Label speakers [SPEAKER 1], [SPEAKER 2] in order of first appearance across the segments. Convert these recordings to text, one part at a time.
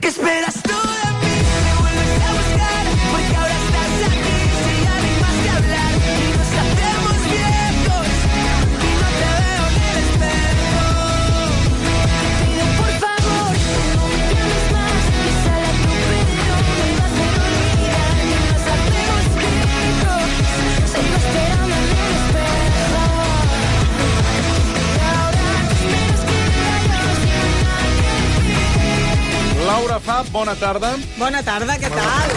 [SPEAKER 1] ¿Qué esperas tú de mí? Me vuelves a buscar porque ahora estás aquí. Si ya no hay más que hablar y nos hacemos viejos y no te veo en el espejo. Te pido por favor que no me llames más. Quizá la estupidez me va a hacer olvidar y nos hacemos viejos. Sigo esperando en el espejo. Y ahora esperas que me vayas
[SPEAKER 2] Laura Fab, bona tarda.
[SPEAKER 3] Bona tarda, què tal?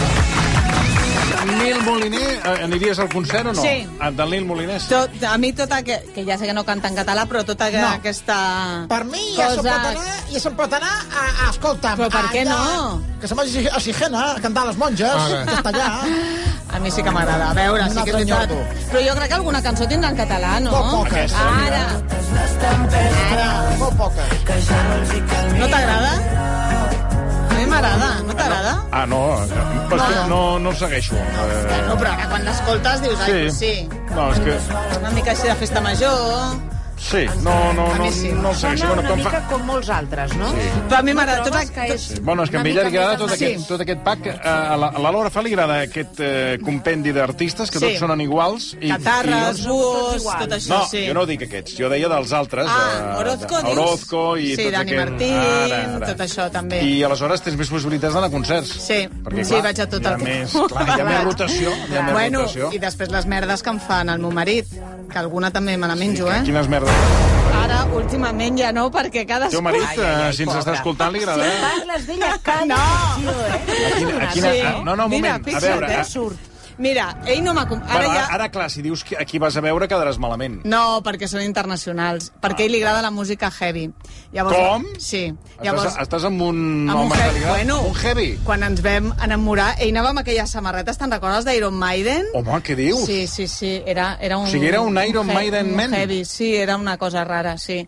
[SPEAKER 2] Nil Moliner, eh, aniries al concert o no?
[SPEAKER 3] Sí.
[SPEAKER 2] Ah, Del Nil Moliner, sí.
[SPEAKER 3] Tot, a mi tota... Que, que ja sé que no canta en català, però tota que,
[SPEAKER 4] No.
[SPEAKER 3] aquesta...
[SPEAKER 4] Per mi ja se'n
[SPEAKER 3] Cosa-
[SPEAKER 4] pot anar, ja se'n pot anar a, a escolta'm...
[SPEAKER 3] Però per què
[SPEAKER 4] allà,
[SPEAKER 3] no?
[SPEAKER 4] Que se'n vagi a Sigena a cantar a les monges,
[SPEAKER 5] Ah,
[SPEAKER 4] que està allà.
[SPEAKER 3] A mi sí que m'agrada, a veure, sí que
[SPEAKER 4] Un
[SPEAKER 3] és
[SPEAKER 4] altre
[SPEAKER 3] veritat.
[SPEAKER 4] nyordo.
[SPEAKER 3] Però jo crec que alguna cançó tindrà en català, no?
[SPEAKER 4] Molt poques.
[SPEAKER 3] Ara,
[SPEAKER 4] Ara, molt poca.
[SPEAKER 3] no t'agrada? A mi m'agrada, no t'agrada?
[SPEAKER 2] Ah, no, eh, però és que no, no el segueixo. Eh,
[SPEAKER 3] No, però ara quan l'escoltes dius, ai, doncs sí.
[SPEAKER 2] No, és que...
[SPEAKER 3] Una mica així de festa major...
[SPEAKER 2] Sí, no, no,
[SPEAKER 3] A
[SPEAKER 2] no,
[SPEAKER 3] mi sí.
[SPEAKER 2] no el segueixo.
[SPEAKER 6] Sona
[SPEAKER 2] Bueno,
[SPEAKER 6] una
[SPEAKER 2] com fa...
[SPEAKER 6] mica com molts altres, no? Sí.
[SPEAKER 3] Però a mi m'agrada tot,
[SPEAKER 6] Trobes que
[SPEAKER 3] tot,
[SPEAKER 6] és...
[SPEAKER 2] Bueno, és que a
[SPEAKER 6] una
[SPEAKER 2] ella li
[SPEAKER 6] mica
[SPEAKER 2] agrada
[SPEAKER 6] més
[SPEAKER 2] tot
[SPEAKER 6] amable.
[SPEAKER 2] aquest, tot aquest pack. Eh, A la, a la Laura Fa li agrada aquest eh, compendi d'artistes que
[SPEAKER 3] Sí.
[SPEAKER 2] tots sonen iguals. I,
[SPEAKER 3] Catarres,
[SPEAKER 2] i no-
[SPEAKER 3] buos,
[SPEAKER 6] iguals.
[SPEAKER 3] tot això,
[SPEAKER 2] No,
[SPEAKER 3] sí.
[SPEAKER 2] jo no dic aquests, jo deia dels altres.
[SPEAKER 3] Ah,
[SPEAKER 2] eh,
[SPEAKER 3] Orozco,
[SPEAKER 2] de-
[SPEAKER 3] dius?
[SPEAKER 2] Orozco i
[SPEAKER 3] sí,
[SPEAKER 2] tots
[SPEAKER 3] Dani
[SPEAKER 2] aquests.
[SPEAKER 3] Martín,
[SPEAKER 2] Ara, ara.
[SPEAKER 3] tot això també.
[SPEAKER 2] I aleshores tens més possibilitats d'anar a concerts.
[SPEAKER 3] Sí, sí, vaig a tot
[SPEAKER 2] hi ha
[SPEAKER 3] el-
[SPEAKER 2] Més, clar, hi ha més rotació. Hi ha més
[SPEAKER 3] bueno,
[SPEAKER 2] rotació.
[SPEAKER 3] i després les merdes que em fan el meu marit, que alguna també me la menjo, eh?
[SPEAKER 2] Quines merdes.
[SPEAKER 3] Ara, últimament ja no, perquè
[SPEAKER 2] El teu
[SPEAKER 3] cadascú...
[SPEAKER 2] marit, eh, si ens està escoltant, li agrada. eh?
[SPEAKER 6] Parles d'ella cada
[SPEAKER 3] No.
[SPEAKER 6] no. eh?
[SPEAKER 2] A quina, a quina,
[SPEAKER 3] Sí.
[SPEAKER 2] a, no, no, un moment.
[SPEAKER 3] Mira,
[SPEAKER 2] a
[SPEAKER 3] fixa't,
[SPEAKER 2] veure,
[SPEAKER 3] eh,
[SPEAKER 2] a,
[SPEAKER 6] Surt.
[SPEAKER 3] Mira, ell no m'ha... com- Ara
[SPEAKER 2] bueno,
[SPEAKER 3] ja... Mm.
[SPEAKER 2] ara, ara, clar, si dius que aquí vas a veure, quedaràs malament.
[SPEAKER 3] No, perquè són internacionals. Perquè a ell li agrada la música heavy. Llavors,
[SPEAKER 2] Com?
[SPEAKER 3] Sí.
[SPEAKER 2] Estàs, estàs amb un
[SPEAKER 3] Amb un
[SPEAKER 2] home que
[SPEAKER 3] heavy.
[SPEAKER 2] li agrada-
[SPEAKER 3] Bueno,
[SPEAKER 2] un heavy.
[SPEAKER 3] quan ens vam enamorar, ell anava amb aquelles samarretes, te'n recordes, d'Iron Maiden?
[SPEAKER 2] Home, què Oh, dius?
[SPEAKER 3] Sí, sí, sí, era, era un...
[SPEAKER 2] O sigui, era un Iron
[SPEAKER 3] he-
[SPEAKER 2] Maiden
[SPEAKER 3] un
[SPEAKER 2] Man.
[SPEAKER 3] Heavy, sí, era una cosa rara, sí.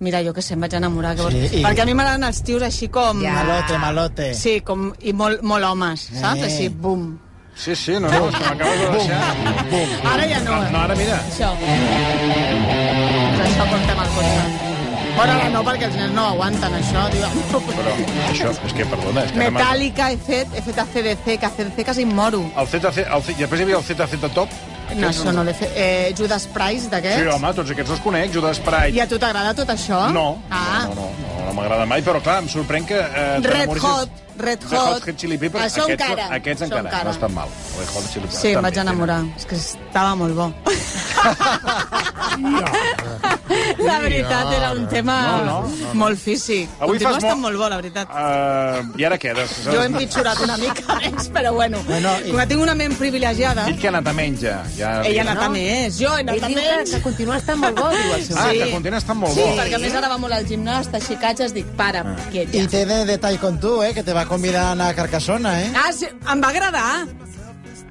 [SPEAKER 3] Mira, jo que sé, em vaig enamorar. Que
[SPEAKER 4] Sí,
[SPEAKER 3] sí,
[SPEAKER 4] i-
[SPEAKER 3] Perquè a mi m'agraden els tios així com...
[SPEAKER 4] Malote, malote.
[SPEAKER 3] Sí, com, i molt, molt homes, saps?
[SPEAKER 4] Eh.
[SPEAKER 3] Així, bum.
[SPEAKER 2] Sí, sí, no, no, és que m'acabes de deixar.
[SPEAKER 3] Ara ja no, eh?
[SPEAKER 2] No, ara mira.
[SPEAKER 3] Això. Pues això portem al costat. Bueno, ara no, perquè els nens no aguanten això, tio.
[SPEAKER 2] Però això, és que, perdona, és que... ara m'ha-
[SPEAKER 3] Metallica, he fet, he fet a CDC, que a CDC quasi em moro.
[SPEAKER 2] El ZZ, el Z, després hi havia el ZZ Top.
[SPEAKER 3] No, això no l'he fet. Eh, Judas Price,
[SPEAKER 2] Sí,
[SPEAKER 3] d'aquests?
[SPEAKER 2] home, tots aquests els conec, Judas Pride.
[SPEAKER 3] I a tu t'agrada tot això?
[SPEAKER 2] No,
[SPEAKER 3] Ah.
[SPEAKER 2] no, no, no, no, no m'agrada mai, però clar, em sorprèn que... Eh,
[SPEAKER 3] Red
[SPEAKER 2] t'enamoris-
[SPEAKER 3] Hot, Red
[SPEAKER 2] Red Hot,
[SPEAKER 3] Hot.
[SPEAKER 2] Hot Chili Peppers,
[SPEAKER 3] Això
[SPEAKER 2] aquests,
[SPEAKER 3] encara.
[SPEAKER 2] aquests
[SPEAKER 3] Això
[SPEAKER 2] encara,
[SPEAKER 3] encara.
[SPEAKER 2] no estan mal. Red Hot Chili Peppers.
[SPEAKER 3] Sí, em
[SPEAKER 2] també,
[SPEAKER 3] vaig enamorar. És que estava molt bo. la veritat, era un tema
[SPEAKER 2] No, no,
[SPEAKER 3] molt físic.
[SPEAKER 2] Avui
[SPEAKER 3] Continua
[SPEAKER 2] fas
[SPEAKER 3] estant
[SPEAKER 2] molt-
[SPEAKER 3] molt bo, la veritat.
[SPEAKER 2] Uh, I ara què? Des,
[SPEAKER 3] Jo he empitjorat una mica més, però bueno.
[SPEAKER 4] Bueno, i-
[SPEAKER 3] Com que tinc una ment privilegiada,
[SPEAKER 2] Ell que ha anat a menja. Ja,
[SPEAKER 3] ella ha
[SPEAKER 2] ja-
[SPEAKER 3] anat a més. Jo he
[SPEAKER 6] Ell
[SPEAKER 3] anat a
[SPEAKER 6] diu que,
[SPEAKER 3] menys.
[SPEAKER 6] que continua estant molt bo, diu el seu.
[SPEAKER 2] Ah,
[SPEAKER 3] sí.
[SPEAKER 2] que continua estant molt
[SPEAKER 3] Sí,
[SPEAKER 2] bo.
[SPEAKER 3] perquè a més ara va molt al gimnàs, teixicatges, dic, para,
[SPEAKER 2] Ah.
[SPEAKER 3] quiet
[SPEAKER 4] I
[SPEAKER 3] ja.
[SPEAKER 4] té de detall con tu, eh, que te va convidar a anar a Carcassona, eh?
[SPEAKER 3] Ah, sí, em va agradar.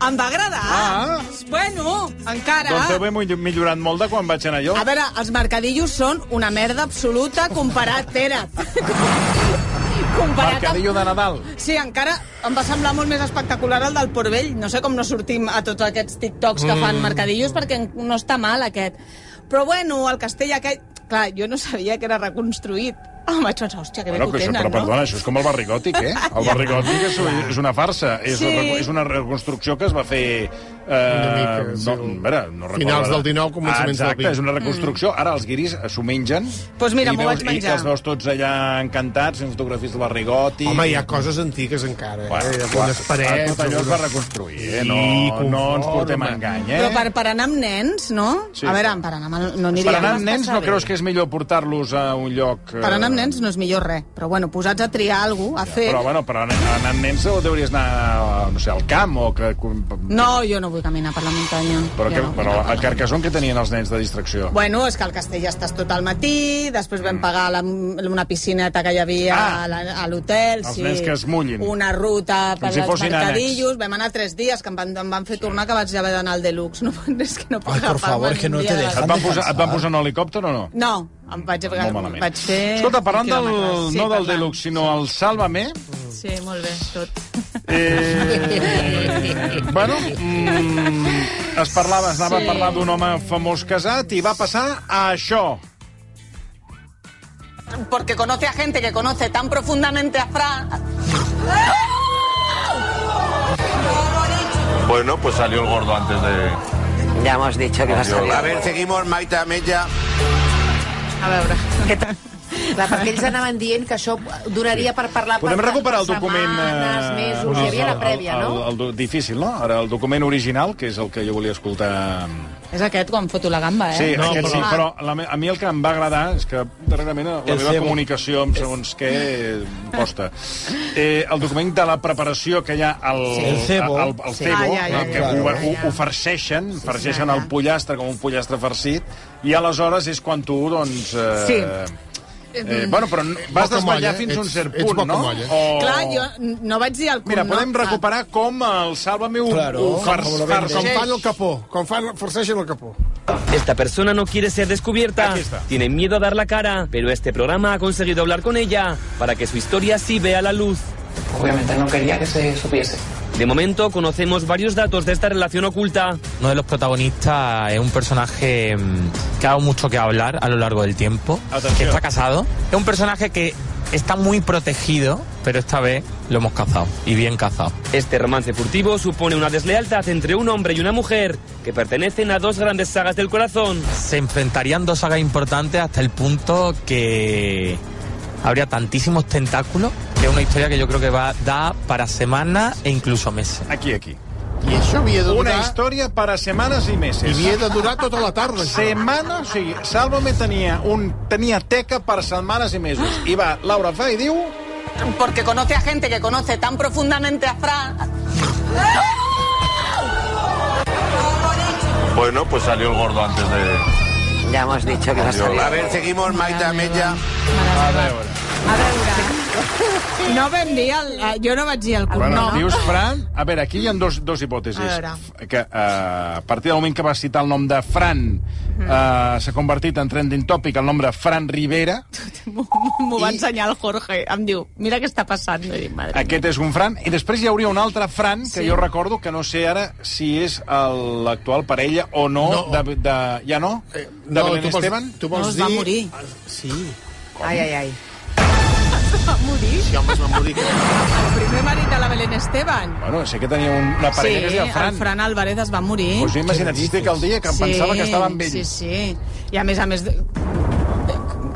[SPEAKER 3] Em va agradar.
[SPEAKER 2] Ah.
[SPEAKER 3] Bueno, encara.
[SPEAKER 2] Doncs deu haver millo- millorat molt de quan vaig anar jo.
[SPEAKER 3] A veure, els mercadillos són una merda absoluta comparat, Pere. comparat amb...
[SPEAKER 2] Mercadillo de Nadal.
[SPEAKER 3] Sí, encara em va semblar molt més espectacular el del Port Vell. No sé com no sortim a tots aquests TikToks que
[SPEAKER 2] Mm.
[SPEAKER 3] fan mercadillos perquè no està mal aquest. Però bueno, el castell aquest... Clar, jo no sabia que era reconstruït. Em vaig pensar, hòstia, que bé
[SPEAKER 2] Bueno,
[SPEAKER 3] que
[SPEAKER 2] que
[SPEAKER 3] ho
[SPEAKER 2] això,
[SPEAKER 3] tenen,
[SPEAKER 2] però
[SPEAKER 3] no?
[SPEAKER 2] perdona, això és com el barrigòtic, eh? El barrigòtic és, és una farsa. És,
[SPEAKER 3] Sí.
[SPEAKER 2] una, és una reconstrucció que es va fer... Eh,
[SPEAKER 5] Una mica, sí.
[SPEAKER 2] no, a veure, no recordo,
[SPEAKER 5] Finals
[SPEAKER 2] ara.
[SPEAKER 5] del 19, començaments del
[SPEAKER 2] Exacte,
[SPEAKER 5] 20.
[SPEAKER 2] és una reconstrucció. Ara els guiris s'ho mengen.
[SPEAKER 3] Doncs mira,
[SPEAKER 2] i
[SPEAKER 3] m'ho
[SPEAKER 2] veus-
[SPEAKER 3] vaig menjar.
[SPEAKER 2] I els veus tots allà encantats, fent fotografies del barrigòtic.
[SPEAKER 5] Home, hi ha coses antigues encara.
[SPEAKER 2] Bueno,
[SPEAKER 5] eh?
[SPEAKER 2] clar,
[SPEAKER 5] Algunes parets...
[SPEAKER 2] Tot allò es va
[SPEAKER 5] algunes-
[SPEAKER 2] reconstruir, eh?
[SPEAKER 5] Sí,
[SPEAKER 2] No, no ens
[SPEAKER 5] confort,
[SPEAKER 2] portem
[SPEAKER 5] home.
[SPEAKER 2] a engany, eh?
[SPEAKER 3] Però per, per anar amb nens, no?
[SPEAKER 2] Sí.
[SPEAKER 3] Sí. A veure, per anar amb, el- no aniria.
[SPEAKER 2] Per anar amb nens, no
[SPEAKER 6] bé.
[SPEAKER 2] creus que és millor portar-los a un lloc... eh,
[SPEAKER 3] Per anar amb nens no és millor res, però bueno, posats a triar alguna cosa, a fer...
[SPEAKER 2] Però, bueno, per anar anar amb nens o deuries anar, no sé, al camp o... Que...
[SPEAKER 3] No, jo no vull caminar per la muntanya.
[SPEAKER 2] Però,
[SPEAKER 3] Jo
[SPEAKER 2] que,
[SPEAKER 3] no.
[SPEAKER 2] però a Carcassonne que tenien els nens de distracció?
[SPEAKER 3] Bueno, és que al Castell ja estàs tot al matí, després vam pagar la, una piscineta que hi havia
[SPEAKER 2] Mm. Ah.
[SPEAKER 3] ah, a la- a l'hotel.
[SPEAKER 2] Els nens que es mullin.
[SPEAKER 3] Una ruta
[SPEAKER 2] Com
[SPEAKER 3] per
[SPEAKER 2] si
[SPEAKER 3] als
[SPEAKER 2] fossin
[SPEAKER 3] mercadillos. Vam anar tres dies, que em van, em van fer tornar, que vaig haver d'anar al Deluxe. No, és que no puc
[SPEAKER 4] Ai, por
[SPEAKER 3] agafar-me
[SPEAKER 4] favor,
[SPEAKER 3] ni un
[SPEAKER 4] que no
[SPEAKER 3] dia
[SPEAKER 4] te
[SPEAKER 3] de
[SPEAKER 4] dejan.
[SPEAKER 3] vacances.
[SPEAKER 2] Et van, posar, et van posar en helicòpter o no?
[SPEAKER 3] No, em vaig,
[SPEAKER 2] Molt malament.
[SPEAKER 3] vaig fer...
[SPEAKER 2] Escolta, parlant del,
[SPEAKER 3] quilòmetres.
[SPEAKER 2] no del
[SPEAKER 3] parlant.
[SPEAKER 2] Deluxe, sinó el Sálvame...
[SPEAKER 3] Sí, molt bé, tot.
[SPEAKER 2] Eh, bueno, mm, es parlava, es anava a parlar d'un home famós casat i va passar a això.
[SPEAKER 3] Porque conoce a gente que conoce tan profundamente a Fran.
[SPEAKER 7] Bueno, pues salió el gordo antes de...
[SPEAKER 8] Ya hemos dicho que va a salir.
[SPEAKER 9] A ver, seguimos, Maita Mella.
[SPEAKER 6] A veure, què tal? Clar, perquè ells anaven dient que això donaria per parlar
[SPEAKER 2] Podem
[SPEAKER 6] per,
[SPEAKER 2] recuperar el
[SPEAKER 6] per
[SPEAKER 2] document...
[SPEAKER 6] setmanes,
[SPEAKER 2] eh,
[SPEAKER 6] mesos, hi havia la prèvia,
[SPEAKER 2] el,
[SPEAKER 6] no?
[SPEAKER 2] El, el, do- difícil, no? Ara, el document original, que és el que jo volia escoltar...
[SPEAKER 3] És aquest quan foto la gamba, eh?
[SPEAKER 2] Sí,
[SPEAKER 5] No,
[SPEAKER 2] aquest sí,
[SPEAKER 5] però-
[SPEAKER 2] però la, me- a mi el que em va agradar és que darrerament la
[SPEAKER 4] El
[SPEAKER 2] meva
[SPEAKER 4] cebo.
[SPEAKER 2] comunicació amb segons què eh, costa. Eh, el document de la preparació que hi ha al,
[SPEAKER 4] el cebo.
[SPEAKER 2] al, al
[SPEAKER 6] Sí.
[SPEAKER 2] cebo
[SPEAKER 6] Ah, ja, ja,
[SPEAKER 2] no?
[SPEAKER 6] ja,
[SPEAKER 2] que
[SPEAKER 4] ja,
[SPEAKER 2] ho,
[SPEAKER 4] ja,
[SPEAKER 2] ho, ho farceixen, farceixen
[SPEAKER 6] ja, ja.
[SPEAKER 2] el pollastre com un pollastre farcit, i aleshores és quan tu, doncs... Eh,
[SPEAKER 3] Sí.
[SPEAKER 2] Eh, bueno, però n- vas
[SPEAKER 5] Poca molla,
[SPEAKER 2] desvetllar fins a un
[SPEAKER 5] ets-
[SPEAKER 2] cert
[SPEAKER 5] ets
[SPEAKER 2] punt,
[SPEAKER 5] poca
[SPEAKER 2] no?
[SPEAKER 5] molla.
[SPEAKER 2] O-
[SPEAKER 3] Clar, jo no vaig dir el cognom.
[SPEAKER 2] Oh. Mira, podem recuperar com el Sálvame ho,
[SPEAKER 4] Claro,
[SPEAKER 2] ho
[SPEAKER 4] com
[SPEAKER 2] far,
[SPEAKER 4] ho lo
[SPEAKER 2] farceix.
[SPEAKER 4] venden.
[SPEAKER 5] Com fan el capó, com fan, forcegen el capó.
[SPEAKER 10] Esta persona no quiere ser descubierta,
[SPEAKER 2] Aquí está.
[SPEAKER 10] tiene miedo a dar la cara, pero este programa ha conseguido hablar con ella para que su historia sí vea la luz.
[SPEAKER 8] Obviamente no quería que se supiese.
[SPEAKER 10] De momento conocemos varios datos de esta relación oculta.
[SPEAKER 11] Uno de los protagonistas es un personaje mm, que ha dado mucho que hablar a lo largo del tiempo,
[SPEAKER 2] Atención.
[SPEAKER 11] que está casado. Es un personaje que está muy protegido, pero esta vez lo hemos cazado, y bien cazado.
[SPEAKER 10] Este romance furtivo supone una deslealtad entre un hombre y una mujer que pertenecen a dos grandes sagas del corazón.
[SPEAKER 11] Se enfrentarían dos sagas importantes hasta el punto que habría tantísimos tentáculos, que es una historia que yo creo que va a dar para semanas e incluso meses.
[SPEAKER 2] Aquí, aquí.
[SPEAKER 5] I això havia de
[SPEAKER 2] Una
[SPEAKER 5] durar...
[SPEAKER 2] història per a setmanes i
[SPEAKER 5] I
[SPEAKER 2] meses.
[SPEAKER 5] havia de durar tota la tarda, això.
[SPEAKER 2] Setmana, o sigui, Sálvame tenia, un, tenia teca per setmanes i mesos. I va, Laura fa i diu...
[SPEAKER 3] Porque conoce a gente que conoce tan profundamente a Fran...
[SPEAKER 7] Bueno, pues salió el gordo antes de...
[SPEAKER 8] Ya hemos dicho que va a salir.
[SPEAKER 9] A ver, seguimos, Maita Mella.
[SPEAKER 3] A veure... No vam dir el... eh, Jo no vaig dir el
[SPEAKER 2] Bueno, no.
[SPEAKER 3] cognom.
[SPEAKER 2] dius, Fran... A veure, aquí hi ha dos, dos hipòtesis.
[SPEAKER 3] A veure.
[SPEAKER 2] F- Que, eh, a partir del moment que va citar el nom de Fran, eh, s'ha convertit en trending topic el nom de Fran Rivera.
[SPEAKER 3] M'ho va ensenyar el Jorge. Em diu, mira què està passant. No dic, madre.
[SPEAKER 2] Aquest és un Fran. I després hi hauria un altre Fran, que sí. jo recordo que no sé ara si és el- l'actual parella o no,
[SPEAKER 5] No.
[SPEAKER 2] De, de... Ja no?
[SPEAKER 5] Eh,
[SPEAKER 2] de Belén
[SPEAKER 5] vols-
[SPEAKER 2] Esteban?
[SPEAKER 5] tu
[SPEAKER 3] No,
[SPEAKER 5] vols
[SPEAKER 3] es
[SPEAKER 5] dir...
[SPEAKER 3] va morir.
[SPEAKER 5] Sí,
[SPEAKER 6] Ai, ai, ai.
[SPEAKER 5] sí, home, es va morir.
[SPEAKER 3] El primer marit de la Belén Esteban.
[SPEAKER 2] Bueno, sé que tenia un, una
[SPEAKER 3] Sí,
[SPEAKER 2] parella que es deia
[SPEAKER 3] el
[SPEAKER 2] Fran.
[SPEAKER 3] Fran Álvarez es va morir.
[SPEAKER 2] Pues jo Doncs imagina't, estic el dia que em pensava que estava amb ell.
[SPEAKER 3] Sí, sí. I a més a més... de-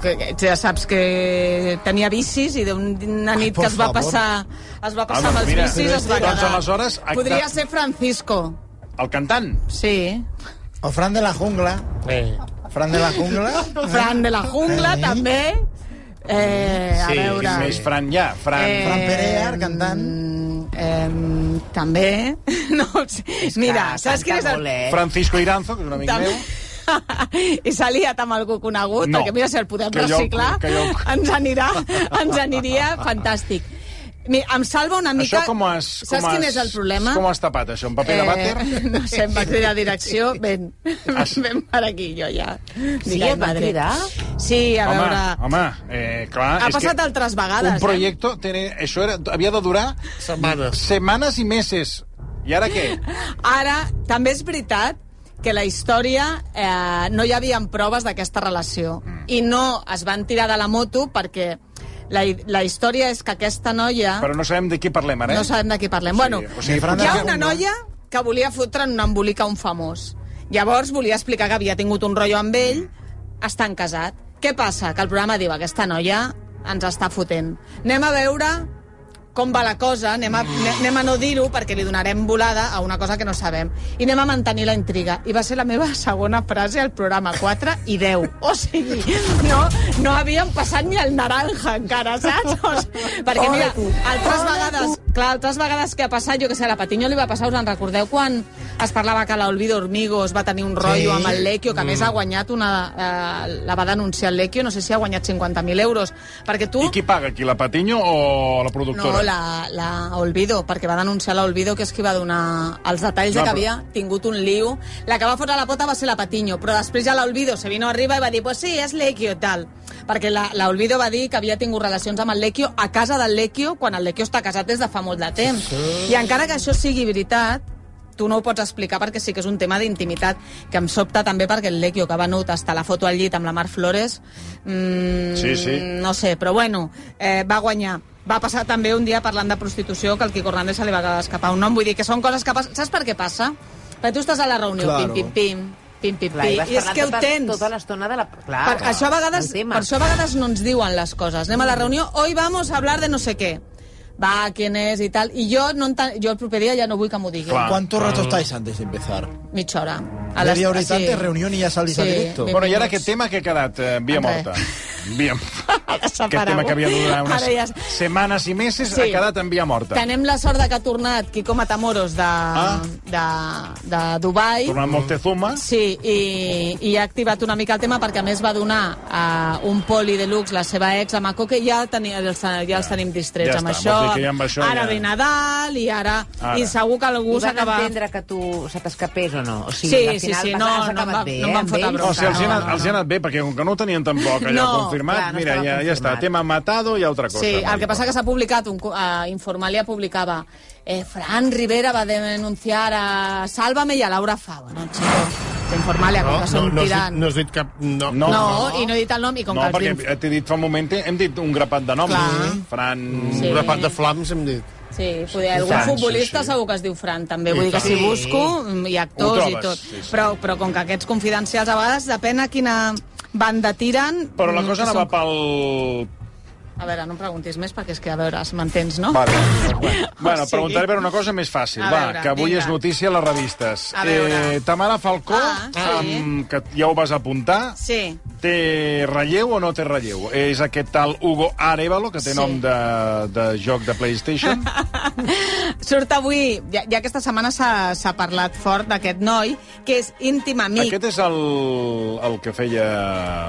[SPEAKER 3] Que, que ja saps que tenia vicis i d'una nit
[SPEAKER 4] por
[SPEAKER 3] que es va
[SPEAKER 4] favor.
[SPEAKER 3] passar, es va passar
[SPEAKER 2] Ah, doncs
[SPEAKER 3] amb els
[SPEAKER 2] mira,
[SPEAKER 3] vicis es va
[SPEAKER 2] doncs
[SPEAKER 3] quedar.
[SPEAKER 2] aleshores, acta-
[SPEAKER 3] Podria ser Francisco.
[SPEAKER 2] El cantant.
[SPEAKER 3] Sí.
[SPEAKER 4] O Fran de la jungla. Fran de la jungla.
[SPEAKER 3] Fran de la jungla,
[SPEAKER 4] Sí.
[SPEAKER 3] també. Eh, a
[SPEAKER 5] Sí,
[SPEAKER 3] veure...
[SPEAKER 2] Quin més Fran hi ha? Fran...
[SPEAKER 3] Eh,
[SPEAKER 4] Fran Perear, cantant.
[SPEAKER 3] Eh, també. No, ho sé. Mira, saps quin és el...
[SPEAKER 6] Molt, eh?
[SPEAKER 2] Francisco Iranzo, que és un amic
[SPEAKER 3] També...
[SPEAKER 2] meu.
[SPEAKER 3] I s'ha liat amb algú conegut,
[SPEAKER 2] No.
[SPEAKER 3] perquè mira, si el podem
[SPEAKER 2] Que jo-
[SPEAKER 3] reciclar,
[SPEAKER 2] que jo-
[SPEAKER 3] ens, anirà, ens aniria fantàstic. Mira, em salva una mica...
[SPEAKER 2] Això com has... Com
[SPEAKER 3] Saps quin
[SPEAKER 2] has,
[SPEAKER 3] és el problema? Eh,
[SPEAKER 2] Com has tapat, això? En paper de vàter?
[SPEAKER 3] no sé, em va cridar a direcció, ven, ven per aquí, jo ja.
[SPEAKER 6] Sí,
[SPEAKER 3] Digue,
[SPEAKER 6] et va
[SPEAKER 3] madre.
[SPEAKER 6] cridar?
[SPEAKER 3] Sí, a
[SPEAKER 2] home,
[SPEAKER 3] veure...
[SPEAKER 2] home, eh, clar...
[SPEAKER 3] Ha
[SPEAKER 2] és
[SPEAKER 3] passat
[SPEAKER 2] que
[SPEAKER 3] altres vegades. eh?
[SPEAKER 2] Un projecte... Tiene, això era, havia de durar
[SPEAKER 5] Setmanes.
[SPEAKER 2] setmanes i meses. I ara què?
[SPEAKER 3] Eh? Ara, també és veritat que la història eh, no hi havia proves d'aquesta relació
[SPEAKER 2] Mm.
[SPEAKER 3] i no es van tirar de la moto perquè la, hi- la història és que aquesta noia...
[SPEAKER 2] Però no sabem de qui parlem ara, eh?
[SPEAKER 3] No sabem de qui parlem. Sí, bueno,
[SPEAKER 2] o sigui,
[SPEAKER 3] hi ha
[SPEAKER 2] potser-
[SPEAKER 3] una noia que volia fotre en un embolic a un famós. Llavors volia explicar que havia tingut un rotllo amb ell, estan casat. Què passa? Que el programa diu aquesta noia ens està fotent. Anem a veure com va la cosa, anem a, ne- anem a no dir-ho perquè li donarem volada a una cosa que no sabem. I anem a mantenir la intriga. I va ser la meva segona frase al programa 4 i 10. O sigui, no, no havíem passat ni el naranja encara, saps? O sigui, perquè, mira, altres vegades... Clar, altres vegades que ha passat, jo que sé, a la Patiño li va passar, us en recordeu, quan es parlava que l'Olvido Hormigos va tenir un rotllo amb el Lequio, que a més ha guanyat una... Eh, la va denunciar el Lequio, no sé si ha guanyat 50.000 euros, perquè tu...
[SPEAKER 2] I qui paga aquí, la Patiño o la productora?
[SPEAKER 3] No, la, la Olvido, perquè va denunciar la Olvido, que és qui va donar els detalls
[SPEAKER 2] No,
[SPEAKER 3] de
[SPEAKER 2] però-
[SPEAKER 3] que havia tingut un liu. La que va fotre la pota va ser la Patiño, però després ja la Olvido se vino arriba i va dir, pues sí, és Lequio, tal. Perquè la, la Olvido va dir que havia tingut relacions amb el Lequio a casa del Lequio, quan el Lequio està casat des de fa molt de temps. I encara que això sigui veritat, tu no ho pots explicar perquè sí que és un tema d'intimitat que em sobta també perquè el Lequio que va venut està la foto al llit amb la Mar Flores mm,
[SPEAKER 2] Sí, sí.
[SPEAKER 3] no sé, però bueno eh, va guanyar va passar també un dia parlant de prostitució que al Quico Hernández se li va escapar un nom. Vull dir que són coses que passen... Saps per què passa? Perquè tu estàs a la reunió,
[SPEAKER 6] Claro.
[SPEAKER 3] pim, pim, pim, pim, pim,
[SPEAKER 6] Clar, i
[SPEAKER 3] pim,
[SPEAKER 6] vas
[SPEAKER 3] i és
[SPEAKER 6] parlant
[SPEAKER 3] que ho
[SPEAKER 6] tota-
[SPEAKER 3] tens.
[SPEAKER 6] Tota l'estona de la... Clar,
[SPEAKER 3] per, això a vegades, per això a vegades no ens diuen les coses. Anem a la
[SPEAKER 6] Mm.
[SPEAKER 3] reunió, hoy vamos a hablar de no sé què. Va, quién es i tal. I jo, no enta- jo el proper dia ja no vull que m'ho diguin.
[SPEAKER 12] Ah.
[SPEAKER 4] ¿Cuánto rato estáis antes de empezar?
[SPEAKER 3] Mitja hora.
[SPEAKER 4] Media hora y tanto, reunión y ya salís
[SPEAKER 3] Sí,
[SPEAKER 4] a directo.
[SPEAKER 3] ben-
[SPEAKER 2] Bueno, i ara aquest tema que ha quedat eh, via
[SPEAKER 3] Res.
[SPEAKER 2] morta. Via... Aquest
[SPEAKER 3] parat.
[SPEAKER 2] tema que havia de durar unes
[SPEAKER 3] Ara ja es-
[SPEAKER 2] setmanes i meses
[SPEAKER 3] Sí.
[SPEAKER 2] ha quedat en via morta.
[SPEAKER 3] Tenem la sort de que ha tornat Quico Matamoros de, de, de Dubai.
[SPEAKER 2] Tornant Moctezuma.
[SPEAKER 3] Sí, i, i ha activat una mica el tema perquè a més va donar a un poli de luxe la seva ex a Maco que ja, teni, els, ja els tenim distrets
[SPEAKER 6] Ja
[SPEAKER 3] amb,
[SPEAKER 6] està,
[SPEAKER 3] això,
[SPEAKER 6] vols dir que ja amb això
[SPEAKER 3] Ara
[SPEAKER 6] ja-
[SPEAKER 3] ve Nadal i ara...
[SPEAKER 6] Ara.
[SPEAKER 3] I segur que algú
[SPEAKER 6] I van
[SPEAKER 3] s'acaba...
[SPEAKER 6] entendre que tu se t'escapés o no? O sigui,
[SPEAKER 3] Sí,
[SPEAKER 6] al
[SPEAKER 3] sí,
[SPEAKER 6] final
[SPEAKER 3] sí,
[SPEAKER 6] vas-
[SPEAKER 3] no,
[SPEAKER 6] has
[SPEAKER 3] no em
[SPEAKER 6] acabat
[SPEAKER 3] va-
[SPEAKER 6] bé, eh,
[SPEAKER 3] no em van
[SPEAKER 6] amb
[SPEAKER 3] fotar
[SPEAKER 6] ells?
[SPEAKER 2] No, o sigui, els, hi ha anat, els hi ha anat bé, perquè com que no ho tenien tampoc allò
[SPEAKER 3] No,
[SPEAKER 2] confirmat,
[SPEAKER 3] clar, no
[SPEAKER 2] mira,
[SPEAKER 3] estava
[SPEAKER 2] ja, ja està,
[SPEAKER 3] confirmat.
[SPEAKER 2] tema matado i altra cosa.
[SPEAKER 3] Sí,
[SPEAKER 2] no
[SPEAKER 3] el que
[SPEAKER 2] dic.
[SPEAKER 3] passa que s'ha publicat, un, co- eh, Informalia publicava eh, Fran Rivera va denunciar a Sálvame i a Laura Fava, no, chicos? Informalia, com que són
[SPEAKER 5] no, has dit,
[SPEAKER 3] tirants.
[SPEAKER 5] no has dit cap... No,
[SPEAKER 3] No, i no he dit el nom, i com
[SPEAKER 2] no,
[SPEAKER 3] que el
[SPEAKER 2] perquè
[SPEAKER 3] príncep-
[SPEAKER 2] t'he dit fa un moment, hem dit un grapat de noms.
[SPEAKER 3] Clar.
[SPEAKER 2] Fran...
[SPEAKER 3] Sí. Un grapat de
[SPEAKER 2] flams hem dit.
[SPEAKER 3] Sí, poder, algun
[SPEAKER 2] Fran, sí,
[SPEAKER 3] futbolista segur que es diu Fran, també.
[SPEAKER 2] I
[SPEAKER 3] Vull dir que
[SPEAKER 2] tant.
[SPEAKER 3] si
[SPEAKER 2] Sí.
[SPEAKER 3] busco, mm, hi ha
[SPEAKER 2] Ho
[SPEAKER 3] actors
[SPEAKER 2] trobes,
[SPEAKER 3] i tot.
[SPEAKER 2] sí, sí.
[SPEAKER 3] Però, però com que aquests confidencials a vegades depèn a quina banda tiren...
[SPEAKER 2] Però la
[SPEAKER 3] mm,
[SPEAKER 2] cosa
[SPEAKER 3] que
[SPEAKER 2] anava
[SPEAKER 3] són-
[SPEAKER 2] pel...
[SPEAKER 3] A veure, no em preguntis més perquè és que, a veure, es m'entens, no?
[SPEAKER 2] Vale. Bueno,
[SPEAKER 3] sigui-
[SPEAKER 2] preguntaré per una cosa més fàcil,
[SPEAKER 3] A
[SPEAKER 2] va,
[SPEAKER 3] veure,
[SPEAKER 2] que avui
[SPEAKER 3] vinga.
[SPEAKER 2] és notícia a les revistes.
[SPEAKER 3] A veure.
[SPEAKER 2] Eh, Tamara Falcó,
[SPEAKER 3] Ah, sí.
[SPEAKER 2] amb- que ja ho vas apuntar,
[SPEAKER 3] Sí.
[SPEAKER 2] Té relleu o no té relleu? És aquest tal Hugo Arevalo, que té
[SPEAKER 3] Sí.
[SPEAKER 2] sí. nom de, de joc de PlayStation.
[SPEAKER 3] Surt avui, ja, ja aquesta setmana s'ha s'ha parlat fort d'aquest noi, que és íntim amic.
[SPEAKER 2] Aquest és el, el que feia...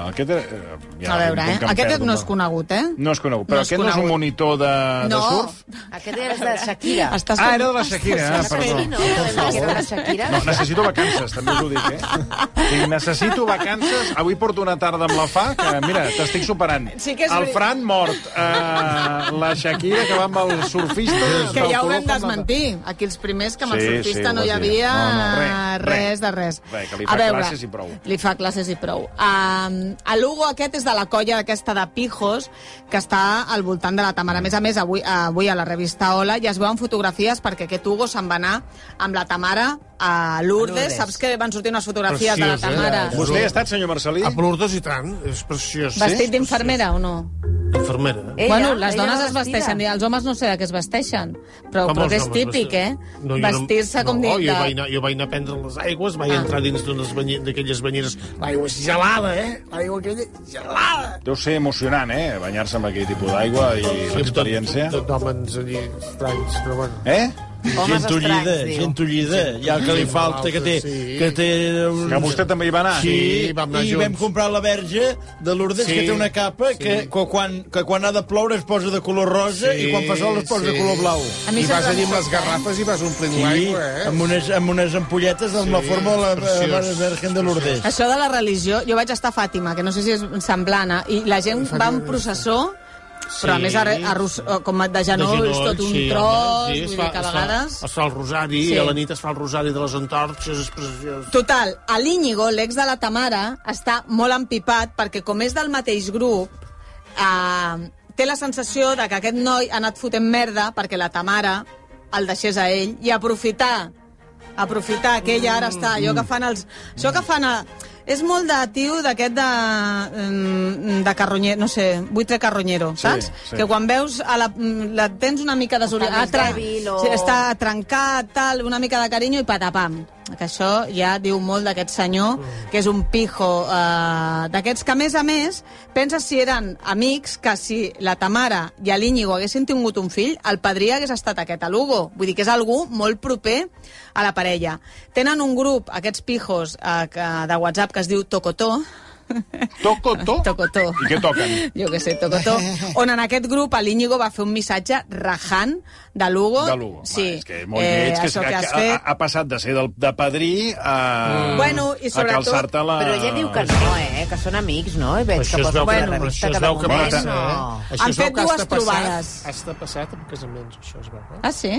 [SPEAKER 2] Aquest, era- eh,
[SPEAKER 3] a veure,
[SPEAKER 2] com
[SPEAKER 3] eh?
[SPEAKER 2] que em
[SPEAKER 3] Aquest
[SPEAKER 2] perdo,
[SPEAKER 3] no és conegut, eh?
[SPEAKER 2] No és conegut,
[SPEAKER 3] No
[SPEAKER 2] però
[SPEAKER 3] és
[SPEAKER 2] no aquest conegut. no és un
[SPEAKER 3] conegut.
[SPEAKER 2] monitor de,
[SPEAKER 3] no.
[SPEAKER 2] de surf?
[SPEAKER 6] Aquest era de Shakira.
[SPEAKER 3] Estàs
[SPEAKER 2] Ah, era de la Shakira, ah,
[SPEAKER 6] Estàs
[SPEAKER 2] perdó.
[SPEAKER 6] fent, no? Era de la Shakira.
[SPEAKER 2] No, necessito vacances, també us ho dic, eh? Sí, necessito vacances. Avui porto una tarda amb la fa, que mira, t'estic superant.
[SPEAKER 3] Sí que és
[SPEAKER 2] el
[SPEAKER 3] veri-
[SPEAKER 2] Fran mort, eh, la Shakira que va amb el surfista...
[SPEAKER 3] Que
[SPEAKER 2] del
[SPEAKER 3] ja ho
[SPEAKER 2] color
[SPEAKER 3] vam
[SPEAKER 2] com la-
[SPEAKER 3] desmentir. Aquí els primers que amb el
[SPEAKER 2] Sí,
[SPEAKER 3] surfista
[SPEAKER 2] sí,
[SPEAKER 3] no
[SPEAKER 2] ho
[SPEAKER 3] hi
[SPEAKER 2] has dit.
[SPEAKER 3] havia
[SPEAKER 2] No, no, res,
[SPEAKER 3] res,
[SPEAKER 2] res.
[SPEAKER 3] de res.
[SPEAKER 2] Res, que li
[SPEAKER 3] A
[SPEAKER 2] fa
[SPEAKER 3] veure,
[SPEAKER 2] classes i prou.
[SPEAKER 3] Li fa classes i prou. Um, el Hugo aquest és de la colla aquesta de pijos que està al voltant de la Tamara. A més a més, avui, avui a la revista Hola ja es veuen fotografies perquè aquest Hugo se'n va anar amb la Tamara a Lourdes.
[SPEAKER 5] Lourdes.
[SPEAKER 3] Saps que van sortir unes fotografies
[SPEAKER 2] eh?
[SPEAKER 3] de la Tamara?
[SPEAKER 2] Vostè hi ha estat, senyor Marcelí?
[SPEAKER 5] A Plurdos i tant, és preciós.
[SPEAKER 3] Vestit d'infermera o no?
[SPEAKER 5] Infermera. eh?
[SPEAKER 3] Ella, bueno, les
[SPEAKER 6] ella
[SPEAKER 3] dones
[SPEAKER 6] va
[SPEAKER 3] es
[SPEAKER 6] vestida.
[SPEAKER 3] vesteixen, i els homes no sé de què es vesteixen, però,
[SPEAKER 5] Com
[SPEAKER 3] però
[SPEAKER 5] els
[SPEAKER 3] que és
[SPEAKER 5] homes,
[SPEAKER 3] típic, eh?
[SPEAKER 5] No, jo
[SPEAKER 3] Vestir-se com
[SPEAKER 5] no,
[SPEAKER 3] dit
[SPEAKER 5] jo
[SPEAKER 3] de- Ah.
[SPEAKER 5] vaig, anar, jo vaig anar a prendre les aigües, vaig entrar dins d'unes banyi- d'aquelles banyeres. L'aigua és gelada, eh? L'aigua aquella és gelada.
[SPEAKER 2] Deu ser emocionant, eh? Banyar-se amb aquell tipus d'aigua i l'experiència.
[SPEAKER 5] Tot d'hòmens allí estranys, però bueno.
[SPEAKER 2] Eh?
[SPEAKER 5] Homes
[SPEAKER 12] Gent ullida,
[SPEAKER 5] estranys, diu.
[SPEAKER 12] gent ullida. Hi ha el que li
[SPEAKER 5] Sí,
[SPEAKER 12] falta, que té...
[SPEAKER 5] sí.
[SPEAKER 12] Que, té un...
[SPEAKER 2] Que vostè també hi va anar.
[SPEAKER 12] Sí,
[SPEAKER 2] Sí, vam anar
[SPEAKER 12] i
[SPEAKER 2] junts.
[SPEAKER 12] vam comprar la verge de Lourdes,
[SPEAKER 2] Sí,
[SPEAKER 12] que té una capa que, que, quan, que quan ha de ploure es posa de color rosa
[SPEAKER 5] Sí,
[SPEAKER 12] i quan fa sol es posa
[SPEAKER 5] sí.
[SPEAKER 12] de color blau.
[SPEAKER 5] A mi I sempre vas allí amb les garrafes i vas omplint l'aigua, eh?
[SPEAKER 12] Amb unes, amb unes ampolletes amb la
[SPEAKER 5] Sí,
[SPEAKER 12] forma de la, de la
[SPEAKER 5] preciós,
[SPEAKER 12] Virgen de Lourdes.
[SPEAKER 3] Això de la religió, jo vaig estar a Fàtima, que no sé si és semblant, eh? i la gent va en processó, però a
[SPEAKER 5] Sí.
[SPEAKER 3] més a, a Rus, eh, com de genolls,
[SPEAKER 5] De genoll,
[SPEAKER 3] tot un
[SPEAKER 5] sí,
[SPEAKER 3] tros,
[SPEAKER 5] home, sí, es
[SPEAKER 3] vull
[SPEAKER 5] fa-
[SPEAKER 3] dir que a
[SPEAKER 5] es fa-
[SPEAKER 3] vegades...
[SPEAKER 5] Es fa el rosari,
[SPEAKER 3] Sí.
[SPEAKER 5] sí. a la nit es fa el rosari de les antorxes, és preciós.
[SPEAKER 3] Total, a l'Íñigo, l'ex de la Tamara, està molt empipat perquè com és del mateix grup, eh, té la sensació de que aquest noi ha anat fotent merda perquè la Tamara el deixés a ell i aprofitar aprofitar que ella ara està allò que fan els... Això que fan a, és molt de tio d'aquest de, mm, de carronyer, no sé, buitre carronyero,
[SPEAKER 6] Sí,
[SPEAKER 3] saps?
[SPEAKER 6] sí.
[SPEAKER 3] Que quan veus a la, mm, la tens una mica desorientada,
[SPEAKER 6] més dèbil o-
[SPEAKER 3] sí, està trencat, tal, una mica de carinyo i patapam. Que això ja diu molt d'aquest senyor, que és un pijo eh, d'aquests que, a més a més, pensa si eren amics que si la Tamara i l'Íñigo haguessin tingut un fill, el padrí hagués estat aquest, a Lugo. Vull dir que és algú molt proper a la parella. Tenen un grup, aquests pijos, eh, que, de WhatsApp que es diu Tocotó,
[SPEAKER 2] Tocotó?
[SPEAKER 3] Tocotó.
[SPEAKER 2] I què toquen?
[SPEAKER 3] Jo que sé, Tocotó. On en aquest grup a l'Íñigo va fer un missatge rajant de Lugo.
[SPEAKER 2] De Lugo.
[SPEAKER 3] Sí. Eh,
[SPEAKER 2] És que és molt lleig, que,
[SPEAKER 3] això
[SPEAKER 2] que,
[SPEAKER 3] que has
[SPEAKER 2] ha,
[SPEAKER 3] fet.
[SPEAKER 2] ha passat de ser del, de padrí a,
[SPEAKER 3] Bueno, i
[SPEAKER 2] a
[SPEAKER 6] sobretot...
[SPEAKER 2] calçar-te la...
[SPEAKER 6] Però ella diu que no, eh? Que són amics, no? I veig que posen la revista cada moment.
[SPEAKER 5] eh?
[SPEAKER 6] no.
[SPEAKER 3] Han fet dues trobades.
[SPEAKER 5] Has de passat amb casaments, això es veu. Eh?
[SPEAKER 3] Ah, sí?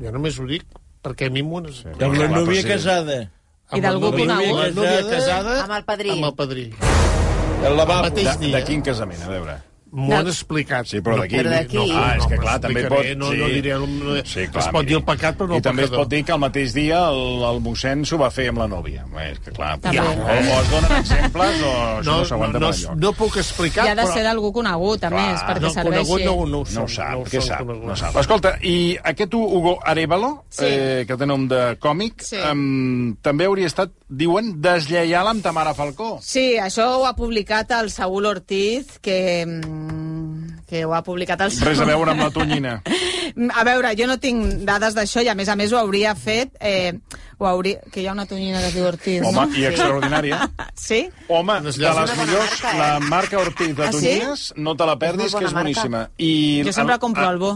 [SPEAKER 5] Jo només ho dic perquè a mi m'ho necessito.
[SPEAKER 12] Amb la núvia casada.
[SPEAKER 5] Amb la
[SPEAKER 12] d'algú
[SPEAKER 5] núvia-
[SPEAKER 12] conegut?
[SPEAKER 5] La núvia casada
[SPEAKER 6] Amb el padrí.
[SPEAKER 5] amb el padrí.
[SPEAKER 12] El lavabo.
[SPEAKER 5] mateix
[SPEAKER 2] de,
[SPEAKER 5] dia.
[SPEAKER 2] de quin casament, a veure?
[SPEAKER 5] M'ho han
[SPEAKER 2] No.
[SPEAKER 5] explicat.
[SPEAKER 2] Sí, però d'aquí.
[SPEAKER 5] No,
[SPEAKER 2] No, ah, és que
[SPEAKER 5] però
[SPEAKER 2] clar, també pot...
[SPEAKER 5] explicaré, No, no diré... No, no,
[SPEAKER 2] sí,
[SPEAKER 5] es pot dir el pecat, però no
[SPEAKER 2] I
[SPEAKER 5] el
[SPEAKER 2] també es
[SPEAKER 5] pecador.
[SPEAKER 2] pot dir que el mateix dia el, el mossèn s'ho va fer amb la nòvia. Bé, És que clar,
[SPEAKER 3] També.
[SPEAKER 2] ja, o, o es donen exemples o això no, no s'aguanta
[SPEAKER 5] no,
[SPEAKER 2] per
[SPEAKER 5] no,
[SPEAKER 2] enlloc.
[SPEAKER 5] no puc explicar,
[SPEAKER 3] I ha de
[SPEAKER 5] però...
[SPEAKER 3] ser d'algú conegut, a més, perquè serveixi.
[SPEAKER 2] no ho sap. No ho sap, què sap? No ho sap. Escolta, i aquest Hugo Arevalo,
[SPEAKER 3] Sí.
[SPEAKER 2] eh, que té nom de còmic,
[SPEAKER 3] Sí.
[SPEAKER 2] em, també hauria estat, diuen, deslleial amb Tamara Falcó.
[SPEAKER 3] Sí, això ho ha publicat el Saúl Ortiz, que, mm, que ho ha publicat el Saúl.
[SPEAKER 2] Res a veure amb la tonyina.
[SPEAKER 3] A veure, jo no tinc dades d'això i a més a més ho hauria fet... Eh, ho hauria... Que hi ha una tonyina que es diu Ortiz,
[SPEAKER 2] Home,
[SPEAKER 3] no?
[SPEAKER 2] i extraordinària.
[SPEAKER 3] Sí?
[SPEAKER 2] Home, de
[SPEAKER 3] bona
[SPEAKER 2] les millors,
[SPEAKER 3] marca, eh?
[SPEAKER 2] la marca Ortiz de
[SPEAKER 3] Ah, sí?
[SPEAKER 2] Tonyines, no te la perdis,
[SPEAKER 3] És molt
[SPEAKER 2] que és
[SPEAKER 3] bona marca.
[SPEAKER 2] boníssima. I
[SPEAKER 3] Jo sempre
[SPEAKER 2] el-
[SPEAKER 3] compro
[SPEAKER 2] ah,
[SPEAKER 3] el bo.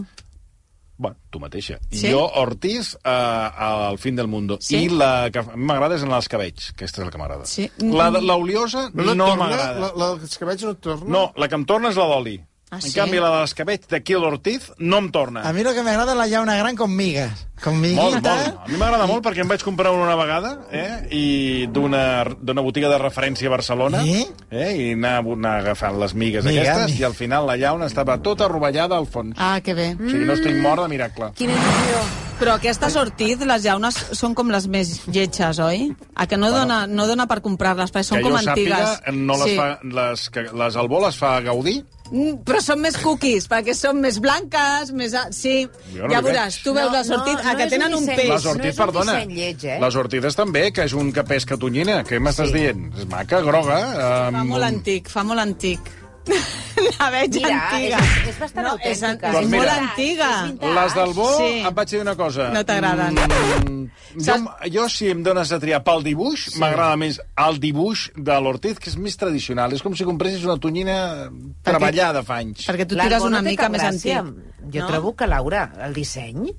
[SPEAKER 2] Bueno, tu mateixa.
[SPEAKER 3] Sí?
[SPEAKER 2] Sí? Jo, Ortiz, eh, al fin del mundo.
[SPEAKER 3] Sí?
[SPEAKER 2] Sí? I la que a mi m'agrada és en els cabells. Aquesta és la que m'agrada.
[SPEAKER 3] Sí.
[SPEAKER 2] La, de- la oliosa
[SPEAKER 5] No,
[SPEAKER 2] no,
[SPEAKER 5] no torna?
[SPEAKER 2] m'agrada.
[SPEAKER 5] La, la dels cabells no torna?
[SPEAKER 2] No, la que em torna és la d'oli.
[SPEAKER 3] Ah,
[SPEAKER 2] En
[SPEAKER 3] sí?
[SPEAKER 2] canvi, la dels cabells d'aquí a l'Ortiz no em torna.
[SPEAKER 4] A mi lo que m'agrada és la llauna gran con migas. Con
[SPEAKER 2] Molt,
[SPEAKER 4] miguita.
[SPEAKER 2] molt. A mi m'agrada molt perquè em vaig comprar una una vegada eh? i d'una d'una botiga de referència a Barcelona eh? Eh? i anar, anar agafant les migues
[SPEAKER 4] Miga,
[SPEAKER 2] aquestes
[SPEAKER 4] miga.
[SPEAKER 2] i al final la llauna estava tota rovellada al fons.
[SPEAKER 3] Ah, que bé.
[SPEAKER 2] O sigui, no estic mort de miracle.
[SPEAKER 6] Mm,
[SPEAKER 3] Quina il·lusió. Però aquestes Ortiz, les llaunes, són com les més lletges, oi? A que no,
[SPEAKER 2] Bueno.
[SPEAKER 3] dona, no dona per comprar-les, perquè són
[SPEAKER 2] que
[SPEAKER 3] com
[SPEAKER 2] jo
[SPEAKER 3] antigues.
[SPEAKER 2] sàpiga, no les, sí. fa, les, que, les Albó les fa Gaudí.
[SPEAKER 3] Mm, Però són més cookies, perquè són més blanques, més... a- Sí,
[SPEAKER 2] Jo no
[SPEAKER 3] ja
[SPEAKER 2] li
[SPEAKER 3] veuràs,
[SPEAKER 2] veig.
[SPEAKER 3] tu veus
[SPEAKER 6] No,
[SPEAKER 3] les Ortiz,
[SPEAKER 6] no,
[SPEAKER 3] a
[SPEAKER 6] no
[SPEAKER 3] que
[SPEAKER 6] és
[SPEAKER 3] tenen
[SPEAKER 6] un
[SPEAKER 3] un
[SPEAKER 6] disseny.
[SPEAKER 3] peix.
[SPEAKER 2] Les Ortiz, perdona.
[SPEAKER 6] disseny lleig, eh?
[SPEAKER 2] Les Ortiz també, que és un que pesca tonyina. Què m'estàs
[SPEAKER 6] Sí.
[SPEAKER 2] dient? És maca, groga.
[SPEAKER 3] Fa
[SPEAKER 2] amb
[SPEAKER 3] molt
[SPEAKER 2] un-
[SPEAKER 3] antic, fa molt antic. La veig
[SPEAKER 6] Mira,
[SPEAKER 3] antiga.
[SPEAKER 6] és- és bastant
[SPEAKER 3] no, és, an-
[SPEAKER 6] autèntica.
[SPEAKER 3] és
[SPEAKER 2] Doncs mira,
[SPEAKER 3] molt antiga.
[SPEAKER 2] Les del Bo,
[SPEAKER 3] Sí.
[SPEAKER 2] sí. et vaig dir una cosa.
[SPEAKER 3] No t'agraden.
[SPEAKER 2] Mm, jo, jo, si em dones a triar pel dibuix, m'agrada més el dibuix de l'Ortiz, que és més tradicional. És com si compressis una tonyina treballada fa anys.
[SPEAKER 3] Perquè tu
[SPEAKER 6] L'Arbo
[SPEAKER 3] tires una
[SPEAKER 6] no té
[SPEAKER 3] mica
[SPEAKER 6] cap
[SPEAKER 3] més
[SPEAKER 6] gràcia.
[SPEAKER 3] antic.
[SPEAKER 6] Jo
[SPEAKER 3] No?
[SPEAKER 6] trobo que, Laura, el disseny...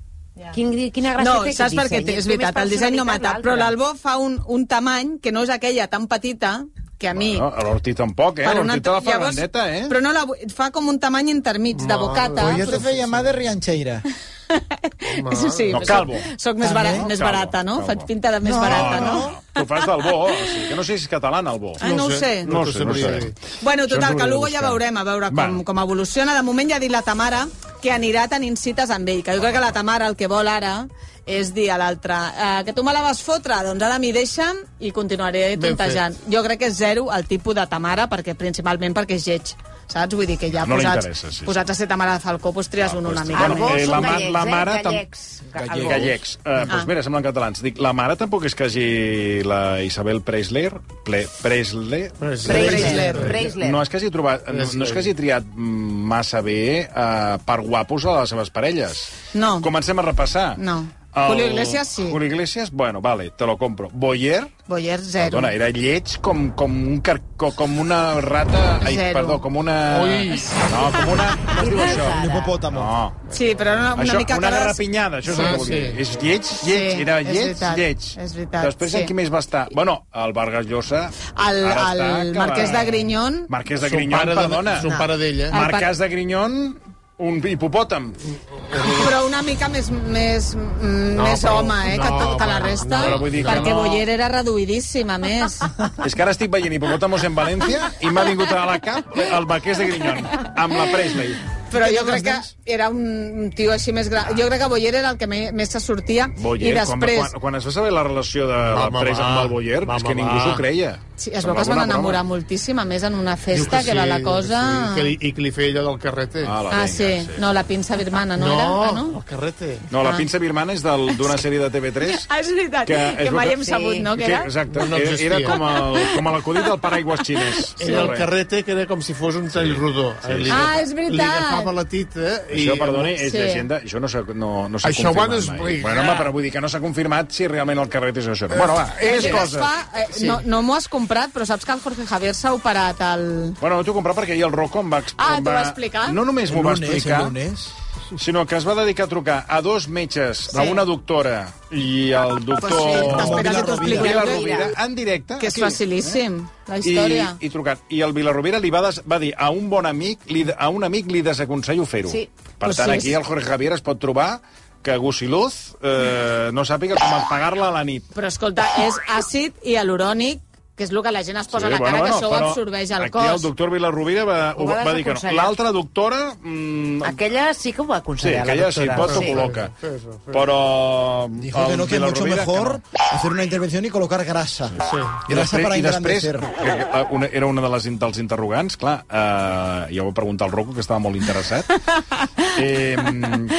[SPEAKER 6] Quin, quina gràcia
[SPEAKER 3] No,
[SPEAKER 6] té aquest
[SPEAKER 3] saps per què?
[SPEAKER 6] disseny?
[SPEAKER 3] És
[SPEAKER 6] Tu més
[SPEAKER 3] veritat, el disseny no mata.
[SPEAKER 6] personalitat
[SPEAKER 3] Però
[SPEAKER 6] l'altre.
[SPEAKER 3] l'Albó fa un, un tamany que no és aquella tan petita que a mi...
[SPEAKER 2] No, a l'Ortiz tampoc, eh?
[SPEAKER 3] per una
[SPEAKER 2] L'Ortiz te la fa
[SPEAKER 3] llavors-
[SPEAKER 2] bandeta, eh?
[SPEAKER 3] Però no la, vu- fa com un tamany intermig, de bocata.
[SPEAKER 4] Pues yo te
[SPEAKER 3] però-
[SPEAKER 4] feia más de riancheira.
[SPEAKER 3] Sí, sí,
[SPEAKER 2] No,
[SPEAKER 3] soc-
[SPEAKER 2] calvo.
[SPEAKER 3] Soc més, bara,
[SPEAKER 2] També?
[SPEAKER 3] més
[SPEAKER 2] Calvo,
[SPEAKER 3] barata, no?
[SPEAKER 2] calvo.
[SPEAKER 3] Faig pinta de més barata, no?
[SPEAKER 2] Ah, Tu fas del bo, o sigui, que no sé si és catalana el bo.
[SPEAKER 3] Ah, no ho sé.
[SPEAKER 2] No ho sé, no ho sé.
[SPEAKER 3] Bueno,
[SPEAKER 2] Això ens
[SPEAKER 3] total,
[SPEAKER 2] ho hauré
[SPEAKER 3] que
[SPEAKER 2] de
[SPEAKER 3] Lugo ja
[SPEAKER 2] buscar.
[SPEAKER 3] veurem, a veure com,
[SPEAKER 2] Vale.
[SPEAKER 3] com evoluciona. De moment ja ha dit la Tamara que anirà tenint cites amb ell, que jo crec que la Tamara el que vol ara és dir a l'altre eh, que tu me la vas fotre, doncs ara m'hi deixa'm i continuaré
[SPEAKER 5] Ben
[SPEAKER 3] tontejant. Jo crec que és zero el tipus de Tamara, perquè principalment perquè és lleig. Saps? Vull dir que ja
[SPEAKER 2] No li
[SPEAKER 3] posats,
[SPEAKER 2] interessa, sí, sí.
[SPEAKER 3] posats a ser Tamara de Falcó, doncs tries ah, un una mica.
[SPEAKER 2] Bueno,
[SPEAKER 3] més.
[SPEAKER 2] eh, la, ma
[SPEAKER 6] gallecs,
[SPEAKER 2] la
[SPEAKER 6] eh?
[SPEAKER 2] mare... tam-
[SPEAKER 6] Gallecs. Ga-
[SPEAKER 2] Gallecs.
[SPEAKER 6] al
[SPEAKER 2] Gallecs. Eh, doncs
[SPEAKER 3] Ah.
[SPEAKER 2] mira, semblen catalans. Dic, la mare tampoc és que hagi la Isabel Preisler... Ple, Preisler?
[SPEAKER 6] Preisler. Preisler.
[SPEAKER 2] No és que hagi trobat... No, no és que hagi triat massa bé eh, per guapos a les seves parelles.
[SPEAKER 3] No.
[SPEAKER 2] Comencem a repassar.
[SPEAKER 3] No. Julio Iglesias, sí.
[SPEAKER 2] Julio Iglesias, bueno, vale, te lo compro. Boyer,
[SPEAKER 3] Boyer, zero.
[SPEAKER 2] Perdona, eh. era lleig com, com, un car co- com una rata... Ai,
[SPEAKER 3] Zero.
[SPEAKER 2] perdó, com una...
[SPEAKER 12] Ui.
[SPEAKER 2] No, com una... Com es diu això?
[SPEAKER 12] Un hipopòtamo.
[SPEAKER 2] No.
[SPEAKER 3] Sí, però una, una
[SPEAKER 2] això,
[SPEAKER 3] mica...
[SPEAKER 2] una
[SPEAKER 3] cara de-
[SPEAKER 2] garrapinyada, això és
[SPEAKER 12] Sí,
[SPEAKER 2] el que volia
[SPEAKER 12] Ah, sí.
[SPEAKER 2] dir. És lleig, lleig,
[SPEAKER 3] Sí,
[SPEAKER 2] era
[SPEAKER 3] és
[SPEAKER 2] lleig,
[SPEAKER 3] veritat,
[SPEAKER 2] lleig.
[SPEAKER 3] és veritat,
[SPEAKER 2] Després,
[SPEAKER 3] sí.
[SPEAKER 2] en qui més va estar? Bueno, el Vargas Llosa...
[SPEAKER 3] El,
[SPEAKER 2] ara està
[SPEAKER 3] el
[SPEAKER 2] que
[SPEAKER 3] marquès
[SPEAKER 2] va-
[SPEAKER 3] de Grinyón...
[SPEAKER 2] Marquès de
[SPEAKER 5] Son
[SPEAKER 2] Grinyón,
[SPEAKER 5] pare de-
[SPEAKER 2] perdona.
[SPEAKER 5] son pare d'ella.
[SPEAKER 3] Ah,
[SPEAKER 2] Marquès de Grinyón, un hipopòtam.
[SPEAKER 3] però una mica més, més, mm,
[SPEAKER 2] No,
[SPEAKER 3] més
[SPEAKER 2] però-
[SPEAKER 3] home, eh, que,
[SPEAKER 2] no,
[SPEAKER 3] to- que la
[SPEAKER 2] però-
[SPEAKER 3] resta,
[SPEAKER 2] no, però vull dir que
[SPEAKER 3] perquè
[SPEAKER 2] no.
[SPEAKER 3] Boyer era reduïdíssima, a més.
[SPEAKER 2] És que ara estic veient hipopòtamos en València i m'ha vingut a la cap el Marquès de Grinyón, amb la Presley.
[SPEAKER 3] Però jo crec que era un tio així més gran. Jo crec que Boyer era el que me- més se sortia.
[SPEAKER 2] Boyer,
[SPEAKER 3] I després...
[SPEAKER 2] quan, quan, quan es va saber la relació de la
[SPEAKER 5] Mama
[SPEAKER 2] Pres amb
[SPEAKER 5] va,
[SPEAKER 2] el Boyer,
[SPEAKER 5] mama
[SPEAKER 2] és que ningú
[SPEAKER 5] va.
[SPEAKER 2] s'ho creia.
[SPEAKER 3] Sí, es
[SPEAKER 2] Semblava
[SPEAKER 3] veu que es van
[SPEAKER 2] una
[SPEAKER 3] enamorar moltíssim, a més, en una festa, que,
[SPEAKER 5] sí,
[SPEAKER 3] era la cosa...
[SPEAKER 5] Sí, que li, I que li feia allò del carrete.
[SPEAKER 2] Ah, la
[SPEAKER 3] Ah,
[SPEAKER 2] venga,
[SPEAKER 3] sí. No, la pinça birmana, no,
[SPEAKER 5] no,
[SPEAKER 3] era? Ah, no?
[SPEAKER 5] el carrete.
[SPEAKER 2] No, la
[SPEAKER 3] Ah.
[SPEAKER 2] pinça birmana és del- d'una sèrie de TV3
[SPEAKER 3] Ah, és veritat, que,
[SPEAKER 2] és
[SPEAKER 3] que mai
[SPEAKER 2] lo
[SPEAKER 3] hem sabut, no, que era?
[SPEAKER 2] exacte,
[SPEAKER 5] No, no
[SPEAKER 2] era,
[SPEAKER 5] existia.
[SPEAKER 2] era com el- com l'acudit del paraigües xinès.
[SPEAKER 5] Era el carrete que era com si fos un tall rodó. Eh, Li-
[SPEAKER 3] Ah, és
[SPEAKER 5] Li
[SPEAKER 3] veritat.
[SPEAKER 5] agafava la tita.
[SPEAKER 2] Això, perdoni, és
[SPEAKER 3] Sí.
[SPEAKER 2] llegenda. Això no s'ha no, no s'ha
[SPEAKER 5] Això ho
[SPEAKER 2] confirmat
[SPEAKER 5] han
[SPEAKER 2] mai.
[SPEAKER 5] explicat.
[SPEAKER 2] Bueno, home, però vull dir que no s'ha confirmat si realment el carret és això. Bueno, va, és
[SPEAKER 3] Això es
[SPEAKER 2] cosa.
[SPEAKER 3] Fa, eh, no no m'ho has comprat, però saps que el Jorge Javier s'ha operat al...
[SPEAKER 2] Bueno, t'ho comprar perquè ahir el Rocco em va... exp-
[SPEAKER 3] Ah,
[SPEAKER 2] em
[SPEAKER 3] t'ho va explicar?
[SPEAKER 2] No només m'ho va
[SPEAKER 12] El lunes,
[SPEAKER 2] explicar,
[SPEAKER 12] el lunes.
[SPEAKER 2] sinó que es va dedicar a trucar a dos metges,
[SPEAKER 3] Sí. Ah,
[SPEAKER 2] a una doctora i al doctor...
[SPEAKER 3] T'esperes que t'ho expliqui
[SPEAKER 2] Pilar
[SPEAKER 3] el
[SPEAKER 2] Rovira,
[SPEAKER 3] Rovira.
[SPEAKER 2] en directe.
[SPEAKER 3] Que és
[SPEAKER 2] aquí.
[SPEAKER 3] facilíssim, la història.
[SPEAKER 2] I, i trucat. I el Vilarrovera li va, des, va dir a un bon amic, li, a un amic li desaconsello fer-ho.
[SPEAKER 6] Sí.
[SPEAKER 2] Per
[SPEAKER 3] Pues
[SPEAKER 2] tant,
[SPEAKER 3] sí,
[SPEAKER 2] aquí
[SPEAKER 3] sí.
[SPEAKER 2] el Jorge Javier es pot trobar que Gusiluz eh, no sàpiga com apagar-la a la nit.
[SPEAKER 3] Però escolta, és àcid i hialurònic que és el que la gent es posa a la cara, que això ho
[SPEAKER 2] però
[SPEAKER 3] absorbeix el
[SPEAKER 2] aquí
[SPEAKER 3] cos.
[SPEAKER 2] el doctor Vilarrovira va,
[SPEAKER 6] Ho
[SPEAKER 2] ho
[SPEAKER 6] va
[SPEAKER 2] va, dir que no.
[SPEAKER 6] desaconsellar.
[SPEAKER 2] L'altra doctora... Mm,
[SPEAKER 6] Aquella sí que ho va
[SPEAKER 2] sí,
[SPEAKER 6] aconsellar,
[SPEAKER 2] aquella
[SPEAKER 6] la
[SPEAKER 2] sí,
[SPEAKER 6] doctora.
[SPEAKER 2] pot o col·loca. Però...
[SPEAKER 4] Dijo que
[SPEAKER 2] el
[SPEAKER 4] no, que mucho
[SPEAKER 2] Vilarrovira que
[SPEAKER 4] mejor hacer una intervención y colocar grasa.
[SPEAKER 2] I
[SPEAKER 4] Grasa
[SPEAKER 2] després,
[SPEAKER 4] para
[SPEAKER 2] i després
[SPEAKER 4] engrandecer.
[SPEAKER 2] que, que, eh, una, era una de les dels interrogants, clar, eh, ja ho va preguntar el Rocco, que estava molt interessat. Eh,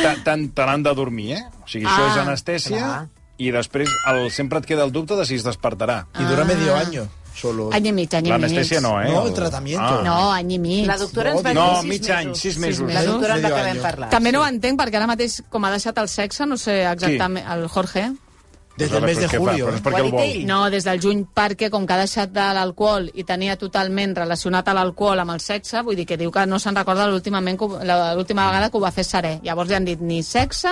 [SPEAKER 2] tant tan, te n'han de dormir, eh? O sigui, això
[SPEAKER 4] Ah,
[SPEAKER 2] és anestèsia,
[SPEAKER 4] clar.
[SPEAKER 2] i després el, sempre et queda el dubte de si es despertarà.
[SPEAKER 4] Y dura medio año. Solo.
[SPEAKER 3] Any i mig, any i mig.
[SPEAKER 2] L'anestèsia no, eh?
[SPEAKER 4] No, el tratamiento.
[SPEAKER 2] Ah.
[SPEAKER 3] No, any i mig.
[SPEAKER 6] La doctora ens va dir
[SPEAKER 2] No,
[SPEAKER 6] sis
[SPEAKER 2] mig
[SPEAKER 6] mesos.
[SPEAKER 2] any, sis mesos.
[SPEAKER 6] La doctora ens va
[SPEAKER 2] Medio
[SPEAKER 6] acabar
[SPEAKER 2] año.
[SPEAKER 6] en parlar.
[SPEAKER 3] També no ho entenc, perquè ara mateix, com ha deixat el sexe, no sé exactament... El Jorge?
[SPEAKER 4] Des
[SPEAKER 2] del mes de
[SPEAKER 4] julio,
[SPEAKER 2] Però és perquè el vol.
[SPEAKER 3] No, des del juny, perquè com que ha deixat de l'alcohol i tenia totalment relacionat a l'alcohol amb el sexe, vull dir que diu que no se'n recorda l'últimament que ho- la- l'última vegada que ho va fer serè. Llavors li han dit ni sexe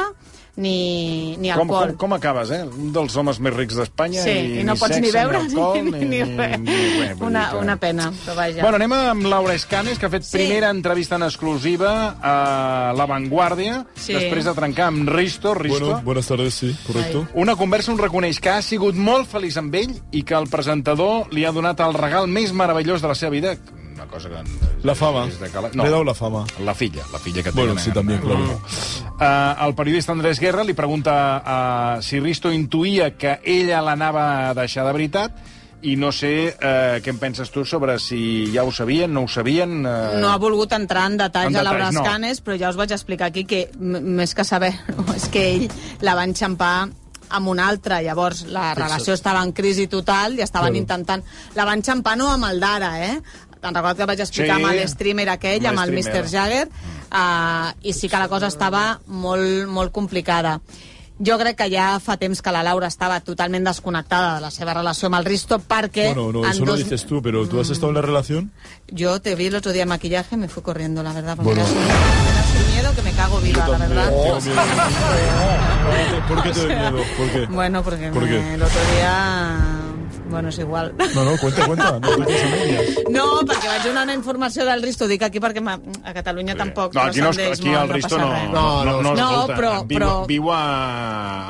[SPEAKER 3] ni, ni
[SPEAKER 2] Com,
[SPEAKER 3] alcohol.
[SPEAKER 2] com, com acabes, eh? Un dels homes més rics d'Espanya
[SPEAKER 3] Sí,
[SPEAKER 2] i,
[SPEAKER 3] i no
[SPEAKER 2] ni
[SPEAKER 3] pots ni
[SPEAKER 2] sexe,
[SPEAKER 3] beure
[SPEAKER 2] ni, alcohol,
[SPEAKER 3] ni- ni res.
[SPEAKER 2] res, vull
[SPEAKER 3] Una,
[SPEAKER 2] dir que-
[SPEAKER 3] una pena, però vaja.
[SPEAKER 2] Bueno, anem amb Laura Escanes, que ha fet
[SPEAKER 3] Sí.
[SPEAKER 2] sí. primera entrevista en exclusiva a La Vanguardia, sí.
[SPEAKER 3] Sí.
[SPEAKER 2] després de trencar amb Risto. Risto.
[SPEAKER 13] Bueno, buenas tardes, sí, correcto.
[SPEAKER 2] Una conversa on reconeix que ha sigut molt feliç amb ell i que el presentador li ha donat el regal més meravellós de la seva vida. Una cosa que...
[SPEAKER 13] La fama.
[SPEAKER 2] Des de que la-
[SPEAKER 13] Le he dado la fama.
[SPEAKER 2] La filla, la filla que tenen. eh?
[SPEAKER 13] Bueno, sí, también, claro.
[SPEAKER 2] Uh, el periodista Andrés Guerra li pregunta uh, si Risto intuïa que ella l'anava a deixar de veritat i no sé uh, què en penses tu sobre si ja ho sabien, no ho sabien... Uh...
[SPEAKER 3] No ha volgut entrar en detalls,
[SPEAKER 2] En
[SPEAKER 3] a Laura
[SPEAKER 2] detalls, no.
[SPEAKER 3] Escanes, però ja us vaig explicar aquí que m- més que saber és que ell la va enxampar amb un altre, llavors la
[SPEAKER 6] Fixa't.
[SPEAKER 3] relació estava en crisi total i estaven
[SPEAKER 6] Claro.
[SPEAKER 3] intentant... La va enxampar no amb el d'ara, eh? Te'n recordes que vaig explicar
[SPEAKER 6] Sí.
[SPEAKER 3] amb el streamer aquell,
[SPEAKER 6] Amb
[SPEAKER 3] amb el
[SPEAKER 6] el
[SPEAKER 3] Mr.
[SPEAKER 6] streamer.
[SPEAKER 3] Jagger, uh, i sí que la cosa estava molt, molt complicada. Jo crec que ja fa temps que la Laura estava totalment desconnectada de la seva relació amb el Risto perquè...
[SPEAKER 13] Bueno, no,
[SPEAKER 3] en
[SPEAKER 13] eso lo
[SPEAKER 3] dos-
[SPEAKER 13] dices tú, pero ¿tú has estado en la relación?
[SPEAKER 3] Yo te vi el otro día en maquillaje, me fui corriendo, la verdad. Porque me da un miedo que me cago viva, la verdad.
[SPEAKER 13] ¿Por qué te doy
[SPEAKER 3] O sea,
[SPEAKER 13] miedo? ¿Por qué?
[SPEAKER 3] Bueno, porque
[SPEAKER 13] ¿Por
[SPEAKER 3] me-
[SPEAKER 13] qué?
[SPEAKER 3] el otro día... Bueno, és igual.
[SPEAKER 13] No, no, cuenta, cuenta. No, cuentes a medias.
[SPEAKER 3] No, perquè vaig donar una informació del Risto, dic aquí perquè ma- a Catalunya tampoc
[SPEAKER 2] No, aquí, no,
[SPEAKER 3] se'n deix
[SPEAKER 2] aquí
[SPEAKER 3] molt,
[SPEAKER 2] el Risto
[SPEAKER 3] passa
[SPEAKER 2] no,
[SPEAKER 3] res.
[SPEAKER 2] no, no, no,
[SPEAKER 3] no,
[SPEAKER 2] escolta,
[SPEAKER 3] però,
[SPEAKER 2] viu,
[SPEAKER 3] però
[SPEAKER 2] viu a,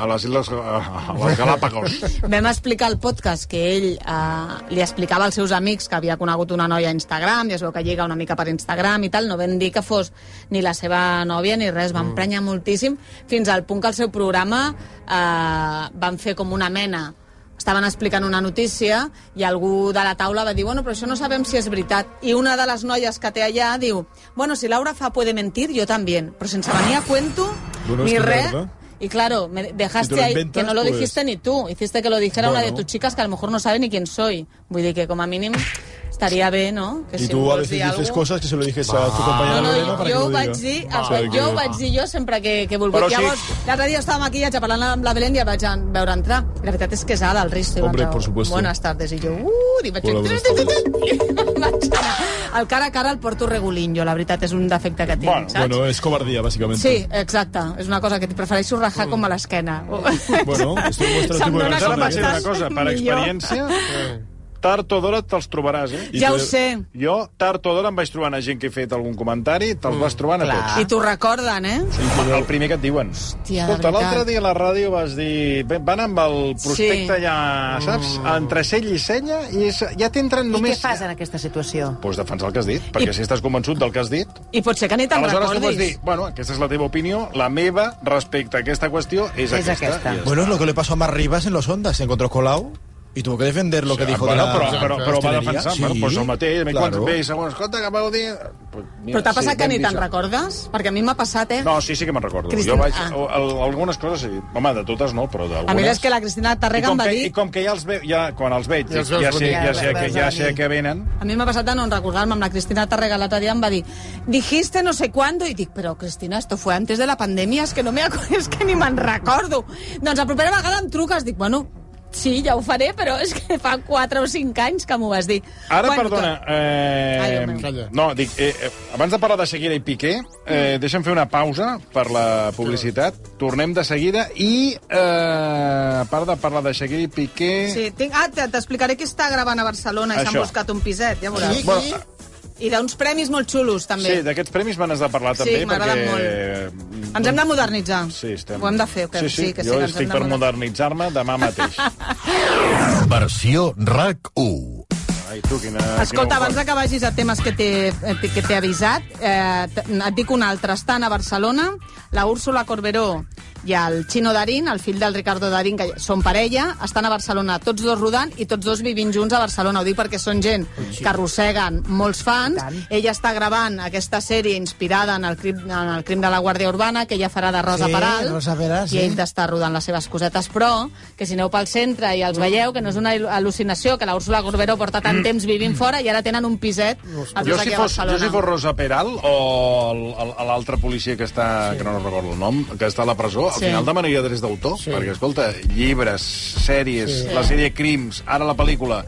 [SPEAKER 2] a les Illes a les Galàpagos.
[SPEAKER 3] vam explicar al podcast que ell eh, li explicava als seus amics que havia conegut una noia a Instagram, ja es veu que lliga una mica per Instagram i tal, no vam dir que fos ni la seva nòvia ni res, va
[SPEAKER 13] Mm.
[SPEAKER 3] emprenyar moltíssim, fins al punt que el seu programa eh, van fer com una mena estaven explicant una notícia i algú de la taula va dir, bueno, però això no sabem si és veritat. I una de les noies que té allà diu, bueno, si Laura fa puede mentir, jo també, però sense venir a cuento
[SPEAKER 13] Bueno,
[SPEAKER 3] ni
[SPEAKER 13] es que es
[SPEAKER 3] res.
[SPEAKER 13] verdad.
[SPEAKER 3] Y claro, me
[SPEAKER 13] Si te
[SPEAKER 3] dejaste
[SPEAKER 13] lo
[SPEAKER 3] ahí
[SPEAKER 13] inventas,
[SPEAKER 3] que no lo
[SPEAKER 13] pues-
[SPEAKER 3] dijiste ni tú. Hiciste que lo dijera una de
[SPEAKER 13] Bueno.
[SPEAKER 3] tus chicas que a lo mejor no sabe ni quién soy. Voy de que como a mínimo estaría bien, ¿no? Que
[SPEAKER 13] Y
[SPEAKER 3] si
[SPEAKER 13] tú a
[SPEAKER 3] vols
[SPEAKER 13] veces
[SPEAKER 3] dir
[SPEAKER 13] dices
[SPEAKER 3] alguna-
[SPEAKER 13] cosas que se lo dijiste a tu compañera
[SPEAKER 3] No, no,
[SPEAKER 13] Lorena para que
[SPEAKER 3] jo
[SPEAKER 13] lo
[SPEAKER 3] ho
[SPEAKER 13] diga.
[SPEAKER 3] vaig dir,
[SPEAKER 13] O sea,
[SPEAKER 3] jo ho
[SPEAKER 13] que-
[SPEAKER 3] vaig dir jo sempre que, que vulgui.
[SPEAKER 13] Però sí.
[SPEAKER 3] Llavors, l'altre dia estava aquí ja parlant amb la Belén i el vaig en- veure entrar. I la veritat és que és ara el Risto. I va
[SPEAKER 13] Hombre,
[SPEAKER 3] entrar,
[SPEAKER 13] por supuesto.
[SPEAKER 3] Buenas tardes. I jo, uh, i vaig
[SPEAKER 13] Hola,
[SPEAKER 3] fer...
[SPEAKER 13] buenas
[SPEAKER 3] Vaig anar. El cara a cara el porto regulín, jo. La veritat és un defecte que tinc, saps?
[SPEAKER 13] Bueno, es cobardía, básicamente.
[SPEAKER 3] Sí, exacte. És una cosa que prefereixo rajar com a l'esquena.
[SPEAKER 13] Bueno, esto demuestra el
[SPEAKER 3] Se'm
[SPEAKER 13] tipo de
[SPEAKER 3] dona
[SPEAKER 13] persona
[SPEAKER 2] Ara vaig
[SPEAKER 13] que
[SPEAKER 2] dir una
[SPEAKER 13] eres.
[SPEAKER 2] cosa, per
[SPEAKER 3] millor.
[SPEAKER 2] experiència, tard o d'hora te'ls trobaràs, eh?
[SPEAKER 3] Ja ho sé.
[SPEAKER 2] Jo, tard o d'hora, em vaig trobant a gent que he fet algun comentari, te'ls vas trobant a tots.
[SPEAKER 3] I t'ho recorden, eh?
[SPEAKER 2] El primer que et diuen.
[SPEAKER 3] Hòstia, de
[SPEAKER 2] Escolta,
[SPEAKER 3] veritat.
[SPEAKER 2] l'altre dia a la ràdio vas dir... "Ve- Van amb el prospecte
[SPEAKER 6] Sí.
[SPEAKER 2] ja, saps?
[SPEAKER 3] Mm.
[SPEAKER 2] Entre cell i cella, i és, ja t'entren
[SPEAKER 6] I què
[SPEAKER 2] només...
[SPEAKER 6] fas en aquesta situació?
[SPEAKER 2] Pues defensar el que has dit, perquè si estàs convençut del que has dit...
[SPEAKER 3] I potser que ni te'n
[SPEAKER 2] Aleshores tu
[SPEAKER 3] recordis.
[SPEAKER 2] pots dir, bueno, aquesta és la teva opinió, la meva respecte a aquesta qüestió és, aquesta. i ja està.
[SPEAKER 4] Bueno, es lo que le pasó a Mar Rivas en los Ondas. Se encontró Colau y tuvo que defender lo que dijo
[SPEAKER 2] bueno,
[SPEAKER 4] de la
[SPEAKER 2] però, però, però va
[SPEAKER 4] hostelería.
[SPEAKER 2] defensar,
[SPEAKER 4] Sí,
[SPEAKER 2] bueno, pues el mateix, claro.
[SPEAKER 4] claro.
[SPEAKER 2] quan ve, segons, escolta, que vau dir... Pues,
[SPEAKER 3] Però t'ha passat que
[SPEAKER 2] vam
[SPEAKER 3] ni
[SPEAKER 2] dir
[SPEAKER 3] te'n
[SPEAKER 2] això.
[SPEAKER 3] recordes? Perquè a mi m'ha passat, eh?
[SPEAKER 2] No, sí, sí que me'n recordo.
[SPEAKER 3] Cristina-
[SPEAKER 2] Jo vaig...
[SPEAKER 3] Ah.
[SPEAKER 2] o- al- Algunes coses, sí. Home, de totes no, però d'algunes...
[SPEAKER 3] A mi és que la Cristina
[SPEAKER 2] I
[SPEAKER 3] Tarrega
[SPEAKER 2] com,
[SPEAKER 3] em va
[SPEAKER 2] que,
[SPEAKER 3] dir...
[SPEAKER 2] I com que ja els ve, ja, quan els veig,
[SPEAKER 3] Ja
[SPEAKER 2] ja,
[SPEAKER 3] els veus
[SPEAKER 2] ja, sé,
[SPEAKER 3] venir.
[SPEAKER 2] ja, sé,
[SPEAKER 3] Ja
[SPEAKER 2] que,
[SPEAKER 3] els
[SPEAKER 2] ja
[SPEAKER 3] veus
[SPEAKER 2] sé que venen,
[SPEAKER 3] A mi m'ha passat de no recordar-me amb la Cristina Tarrega l'altre dia em va dir dijiste no sé cuándo i dic, però Cristina, esto fue antes de la pandèmia, és que no me acu- és que ni me'n recordo. Doncs la propera vegada em truques, dic, bueno, sí, ja ho faré, però és que fa 4 o 5 anys que m'ho vas dir.
[SPEAKER 2] Ara,
[SPEAKER 3] Bueno,
[SPEAKER 2] perdona, eh, no, dic, eh, eh, abans de parlar de seguida i Piqué,
[SPEAKER 3] Mm.
[SPEAKER 2] eh, deixa'm fer una pausa per la publicitat. Tornem de seguida i, eh, a part de parlar de Shakira i Piqué...
[SPEAKER 3] Sí, tinc... Ah, te- t'explicaré que està gravant a Barcelona i s'han
[SPEAKER 2] Això.
[SPEAKER 3] buscat un piset, ja
[SPEAKER 2] Sí,
[SPEAKER 3] veuràs.
[SPEAKER 2] bueno,
[SPEAKER 3] I d'uns premis molt xulos, també.
[SPEAKER 2] sí d'aquests premis me n'has de parlar
[SPEAKER 3] Sí,
[SPEAKER 2] també,
[SPEAKER 3] m'agraden
[SPEAKER 2] perquè...
[SPEAKER 3] Ens hem de modernitzar.
[SPEAKER 2] Sí, estem...
[SPEAKER 3] Ho hem de fer, que
[SPEAKER 2] sí, sí,
[SPEAKER 3] sí, que sí,
[SPEAKER 2] jo
[SPEAKER 3] que ens
[SPEAKER 2] estic
[SPEAKER 3] hem de
[SPEAKER 2] per modernitzar-me demà mateix.
[SPEAKER 14] Versió RAC 1.
[SPEAKER 2] Ai, tu, quina...
[SPEAKER 14] Eh,
[SPEAKER 3] Escolta,
[SPEAKER 2] quina
[SPEAKER 3] abans de que vagis a temes que t'he eh, que t'he avisat, eh, t- et dic un altre. Estan a Barcelona la Úrsula Corberó i el Chino Darín, el fill del Ricardo Darín, que són parella, estan a Barcelona, tots dos rodant i tots dos vivint junts a Barcelona. Ho dic perquè són gent que arrosseguen molts fans. Ella està gravant aquesta sèrie inspirada en el crim, en el crim de la Guàrdia Urbana, que ella farà de Rosa
[SPEAKER 14] Sí,
[SPEAKER 3] Peral.
[SPEAKER 14] Rosa Peral, sí.
[SPEAKER 3] I ell està rodant les seves cosetes, però que si aneu pel centre i els veieu, que no és una il- al·lucinació, que la Úrsula Corberó porta tant temps vivint fora i ara tenen un piset a
[SPEAKER 2] Mm. Jo
[SPEAKER 3] dos
[SPEAKER 2] si,
[SPEAKER 3] aquí a
[SPEAKER 2] fos, jo
[SPEAKER 3] Barcelona.
[SPEAKER 2] si fos Rosa Peral o el- el- l'altre policia que està, sí. que no recordo el nom, que està a la presó, al
[SPEAKER 3] Sí.
[SPEAKER 2] final demanaria drets d'autor, sí. perquè, escolta, llibres, sèries,
[SPEAKER 3] Sí.
[SPEAKER 2] sí. la sèrie Crims, ara la pel·lícula...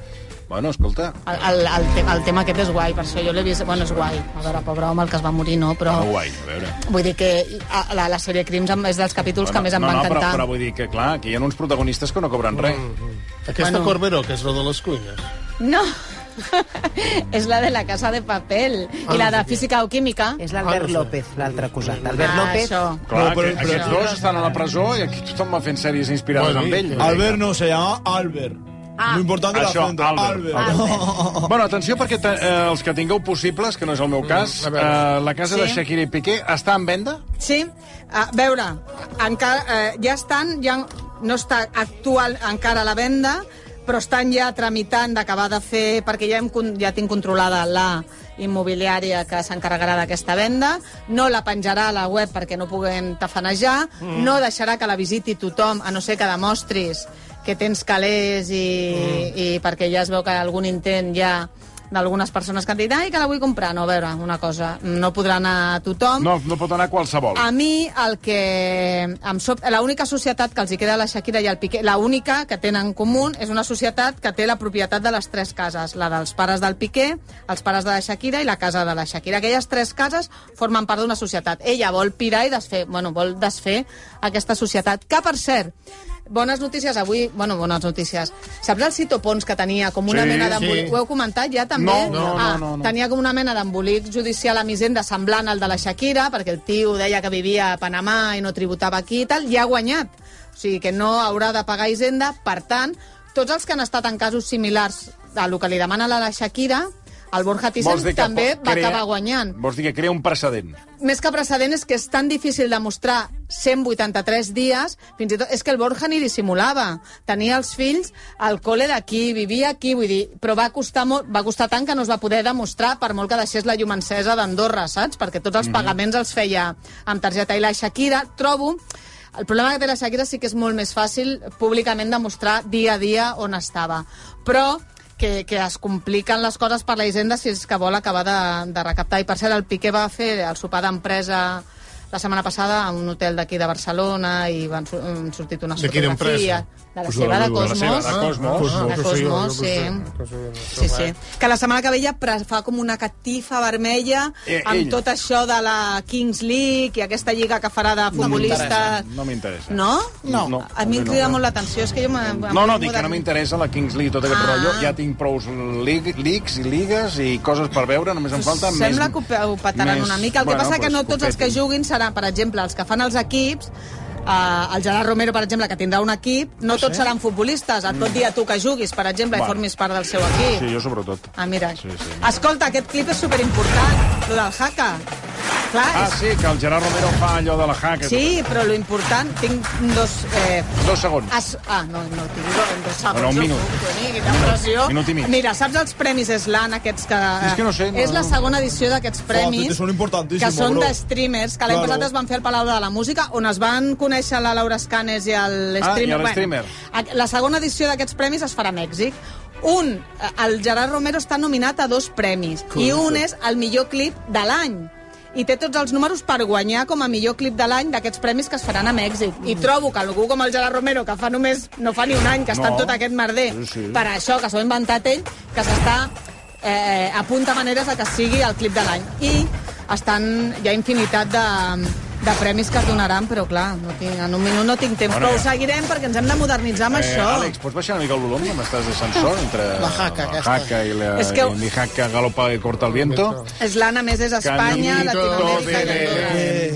[SPEAKER 2] Bueno, escolta,
[SPEAKER 3] El, el, el, te el tema aquest és guai, per això jo l'he vist... Bueno, és guai. A veure, pobre home, el que es va morir, no, però...
[SPEAKER 2] no Ah, guai, a veure...
[SPEAKER 3] Vull dir que a- la, la sèrie Crims em- és dels capítols que més em
[SPEAKER 2] no,
[SPEAKER 3] va
[SPEAKER 2] no, però,
[SPEAKER 3] encantar.
[SPEAKER 2] però vull dir que, clar, que hi ha uns protagonistes que no cobren res. Mm.
[SPEAKER 5] Aquesta
[SPEAKER 3] Bueno.
[SPEAKER 5] Corberó, que és la de les cuines.
[SPEAKER 3] No. és la de la Casa de Papel
[SPEAKER 6] Ah,
[SPEAKER 3] i la
[SPEAKER 6] no
[SPEAKER 3] de
[SPEAKER 6] sé
[SPEAKER 3] Física o Química. És
[SPEAKER 6] Albert López, l'altre acusat. Albert
[SPEAKER 3] Ah,
[SPEAKER 6] López...
[SPEAKER 3] això.
[SPEAKER 2] Clar,
[SPEAKER 12] No,
[SPEAKER 2] no,
[SPEAKER 12] però-
[SPEAKER 2] però, que
[SPEAKER 12] però-
[SPEAKER 2] aquests dos estan a la presó i aquí tothom va fent sèries inspirades
[SPEAKER 12] Bueno,
[SPEAKER 2] bueno, amb ell.
[SPEAKER 12] Albert no, se llama Albert.
[SPEAKER 6] Ah.
[SPEAKER 12] Lo importante es la
[SPEAKER 2] Això,
[SPEAKER 12] frente.
[SPEAKER 2] Albert. Albert. bueno, atenció, perquè te, eh, els que tingueu possibles, que no és el meu cas,
[SPEAKER 3] Mm, a
[SPEAKER 2] eh,
[SPEAKER 3] veure.
[SPEAKER 2] la casa
[SPEAKER 3] Sí.
[SPEAKER 2] de Shakira i Piqué està en venda?
[SPEAKER 3] Sí, a veure, encara, eh, ja estan, ja no està actual encara a la venda, però estan ja tramitant d'acabar de fer, perquè ja, hem, con- ja tinc controlada la immobiliària que s'encarregarà d'aquesta venda, no la penjarà a la web perquè no puguem tafanejar,
[SPEAKER 14] Mm.
[SPEAKER 3] no deixarà que la visiti tothom, a no ser que demostris que tens calés i, i perquè ja es veu que algun intent ja d'algunes persones que han dit ai, que la vull comprar. No, a veure, una cosa, no podrà anar a tothom.
[SPEAKER 2] No, no pot anar qualsevol.
[SPEAKER 3] A mi el que em sop... l'única societat que els hi queda a la Shakira i el Piqué, l'única que tenen en comú és una societat que té la propietat de les tres cases, la dels pares del Piqué, els pares de la Shakira i la casa de la Shakira. Aquelles tres cases formen part d'una societat. Ella vol pirar i desfer, bueno, vol desfer aquesta societat, que per cert, Bones notícies avui, bueno, bones notícies. Saps el Cito Pons que tenia com una
[SPEAKER 14] Sí,
[SPEAKER 3] mena
[SPEAKER 14] sí.
[SPEAKER 3] d'embolic? Ho heu comentat ja també?
[SPEAKER 14] No, no, no,
[SPEAKER 3] ah,
[SPEAKER 14] no, no.
[SPEAKER 3] Tenia com una mena d'embolic judicial amb Hisenda semblant al de la Shakira, perquè el tio deia que vivia a Panamà i no tributava aquí i tal, i ha guanyat. O sigui, que no haurà de pagar Hisenda. Per tant, tots els que han estat en casos similars a lo que li demana la Shakira, el Borja
[SPEAKER 2] Vols dir
[SPEAKER 3] Thyssen
[SPEAKER 2] que
[SPEAKER 3] també
[SPEAKER 2] po-
[SPEAKER 3] va
[SPEAKER 2] crea-
[SPEAKER 3] acabar guanyant
[SPEAKER 2] Vols dir que crea un precedent?
[SPEAKER 3] més que precedent és que és tan difícil demostrar 183 dies, fins i tot és que el Borja ni dissimulava. Tenia els fills al col·le d'aquí, vivia aquí, vull dir, però va costar, molt, va costar tant que no es va poder demostrar per molt que deixés la llum encesa d'Andorra, saps? Perquè tots els
[SPEAKER 14] Mhm.
[SPEAKER 3] pagaments els feia amb targeta. I la Shakira, trobo, el problema que té la Shakira sí que és molt més fàcil públicament demostrar dia a dia on estava. Però que, que es compliquen les coses per la Hisenda si és que vol acabar de, de recaptar. I per cert, el Piqué va fer el sopar d'empresa la setmana passada a un hotel d'aquí de Barcelona i van sur han sortit unes
[SPEAKER 5] De quina
[SPEAKER 3] fotografies.
[SPEAKER 5] empresa?
[SPEAKER 3] De la
[SPEAKER 5] Pues de
[SPEAKER 3] seva,
[SPEAKER 5] la
[SPEAKER 3] de
[SPEAKER 5] meva.
[SPEAKER 3] Cosmos.
[SPEAKER 5] De la seva, de Cosmos.
[SPEAKER 3] Ah,
[SPEAKER 5] Cosmos,
[SPEAKER 3] de
[SPEAKER 5] que sí, jo-
[SPEAKER 3] Cosmos,
[SPEAKER 5] jo
[SPEAKER 3] sí. Sí, sí. Que la setmana que ve ja pre- fa com una catifa vermella
[SPEAKER 2] Eh,
[SPEAKER 3] amb
[SPEAKER 2] ell.
[SPEAKER 3] tot això de la Kings League i aquesta lliga que farà de
[SPEAKER 2] No m'interessa.
[SPEAKER 3] futbolistes.
[SPEAKER 2] No m'interessa.
[SPEAKER 3] No?
[SPEAKER 2] No. No.
[SPEAKER 3] A mi em
[SPEAKER 2] No,
[SPEAKER 3] crida
[SPEAKER 2] no.
[SPEAKER 3] molt l'atenció, és que jo... m'ha-
[SPEAKER 2] No, no,
[SPEAKER 3] m'he
[SPEAKER 2] dic que no
[SPEAKER 3] modernitzat.
[SPEAKER 2] m'interessa la Kings League, tot aquest
[SPEAKER 3] Ah.
[SPEAKER 2] rotllo. Ja tinc prou leaks i ligues i coses per veure, només em falta
[SPEAKER 3] Sembla
[SPEAKER 2] més...
[SPEAKER 3] que ho pe- ho petaran
[SPEAKER 2] més-
[SPEAKER 3] una mica. El que
[SPEAKER 2] bueno,
[SPEAKER 3] passa que
[SPEAKER 2] pues,
[SPEAKER 3] no tots els que
[SPEAKER 2] copetin.
[SPEAKER 3] juguin seran, per exemple, els que fan els equips, eh, el Gerard Romero, per exemple, que tindrà un equip, no
[SPEAKER 2] Ah,
[SPEAKER 3] tots
[SPEAKER 2] Sí.
[SPEAKER 3] seran futbolistes. Et pot dir a tu que juguis, per exemple, i
[SPEAKER 2] Bueno.
[SPEAKER 3] formis part del seu equip.
[SPEAKER 2] Sí, jo sobretot.
[SPEAKER 3] Ah, mira.
[SPEAKER 2] Sí, sí.
[SPEAKER 3] Escolta, aquest clip és superimportant, el del Haka. Clar,
[SPEAKER 2] Ah,
[SPEAKER 3] és...
[SPEAKER 2] sí, que el Gerard Romero fa allò de la hack.
[SPEAKER 3] Sí, però lo important... Tinc dos... Eh,
[SPEAKER 2] Dos segons.
[SPEAKER 3] As... Ah, no, no, tinc dos, dos segons.
[SPEAKER 2] Bueno, un
[SPEAKER 3] no
[SPEAKER 2] minut.
[SPEAKER 3] puc tenir, quina pressió.
[SPEAKER 2] Minut i mig.
[SPEAKER 3] Mira, saps els premis Slan, aquests que... eh,
[SPEAKER 12] És que no sé, no,
[SPEAKER 3] és la
[SPEAKER 12] no.
[SPEAKER 3] segona edició d'aquests premis.
[SPEAKER 12] Son importantísimos,
[SPEAKER 3] que són
[SPEAKER 12] bro.
[SPEAKER 3] de streamers, que l'any
[SPEAKER 12] Claro.
[SPEAKER 3] passat es van fer al Palau de la Música, on es van conèixer la Laura Escanes i el
[SPEAKER 2] Ah, i
[SPEAKER 3] streamer.
[SPEAKER 2] el streamer.
[SPEAKER 3] a- la segona edició d'aquests premis es farà a Mèxic. Un, eh, el Gerard Romero està nominat a dos premis, i
[SPEAKER 14] Cool.
[SPEAKER 3] un és el millor clip de l'any i té tots els números per guanyar com a millor clip de l'any d'aquests premis que es faran a Mèxic. I
[SPEAKER 14] Mm.
[SPEAKER 3] trobo que algú com el Gerard Romero, que fa només, no fa ni un any, que està en
[SPEAKER 14] No.
[SPEAKER 3] tot aquest merder,
[SPEAKER 14] Sí, sí.
[SPEAKER 3] per això que s'ho ha inventat ell, que s'està eh, apunta maneres de que sigui el clip de l'any. I estan, hi ha infinitat de, de premis que es donaran, però clar, no tinc, en un minut no tinc temps.
[SPEAKER 2] Bueno,
[SPEAKER 3] Bueno, però
[SPEAKER 2] ja.
[SPEAKER 3] ho
[SPEAKER 2] Eh,
[SPEAKER 3] seguirem perquè ens hem de modernitzar amb això.
[SPEAKER 2] Àlex, pots baixar una mica el volum? Que M'estàs de sensor entre
[SPEAKER 3] La jaca
[SPEAKER 2] la
[SPEAKER 3] aquesta.
[SPEAKER 2] jaca i la,
[SPEAKER 3] És que-
[SPEAKER 2] i mi jaca galopa i corta el viento.
[SPEAKER 3] És l'Anna, a més, és Espanya,
[SPEAKER 2] Caminito
[SPEAKER 3] Latinoamèrica i
[SPEAKER 2] de-
[SPEAKER 3] Andorra.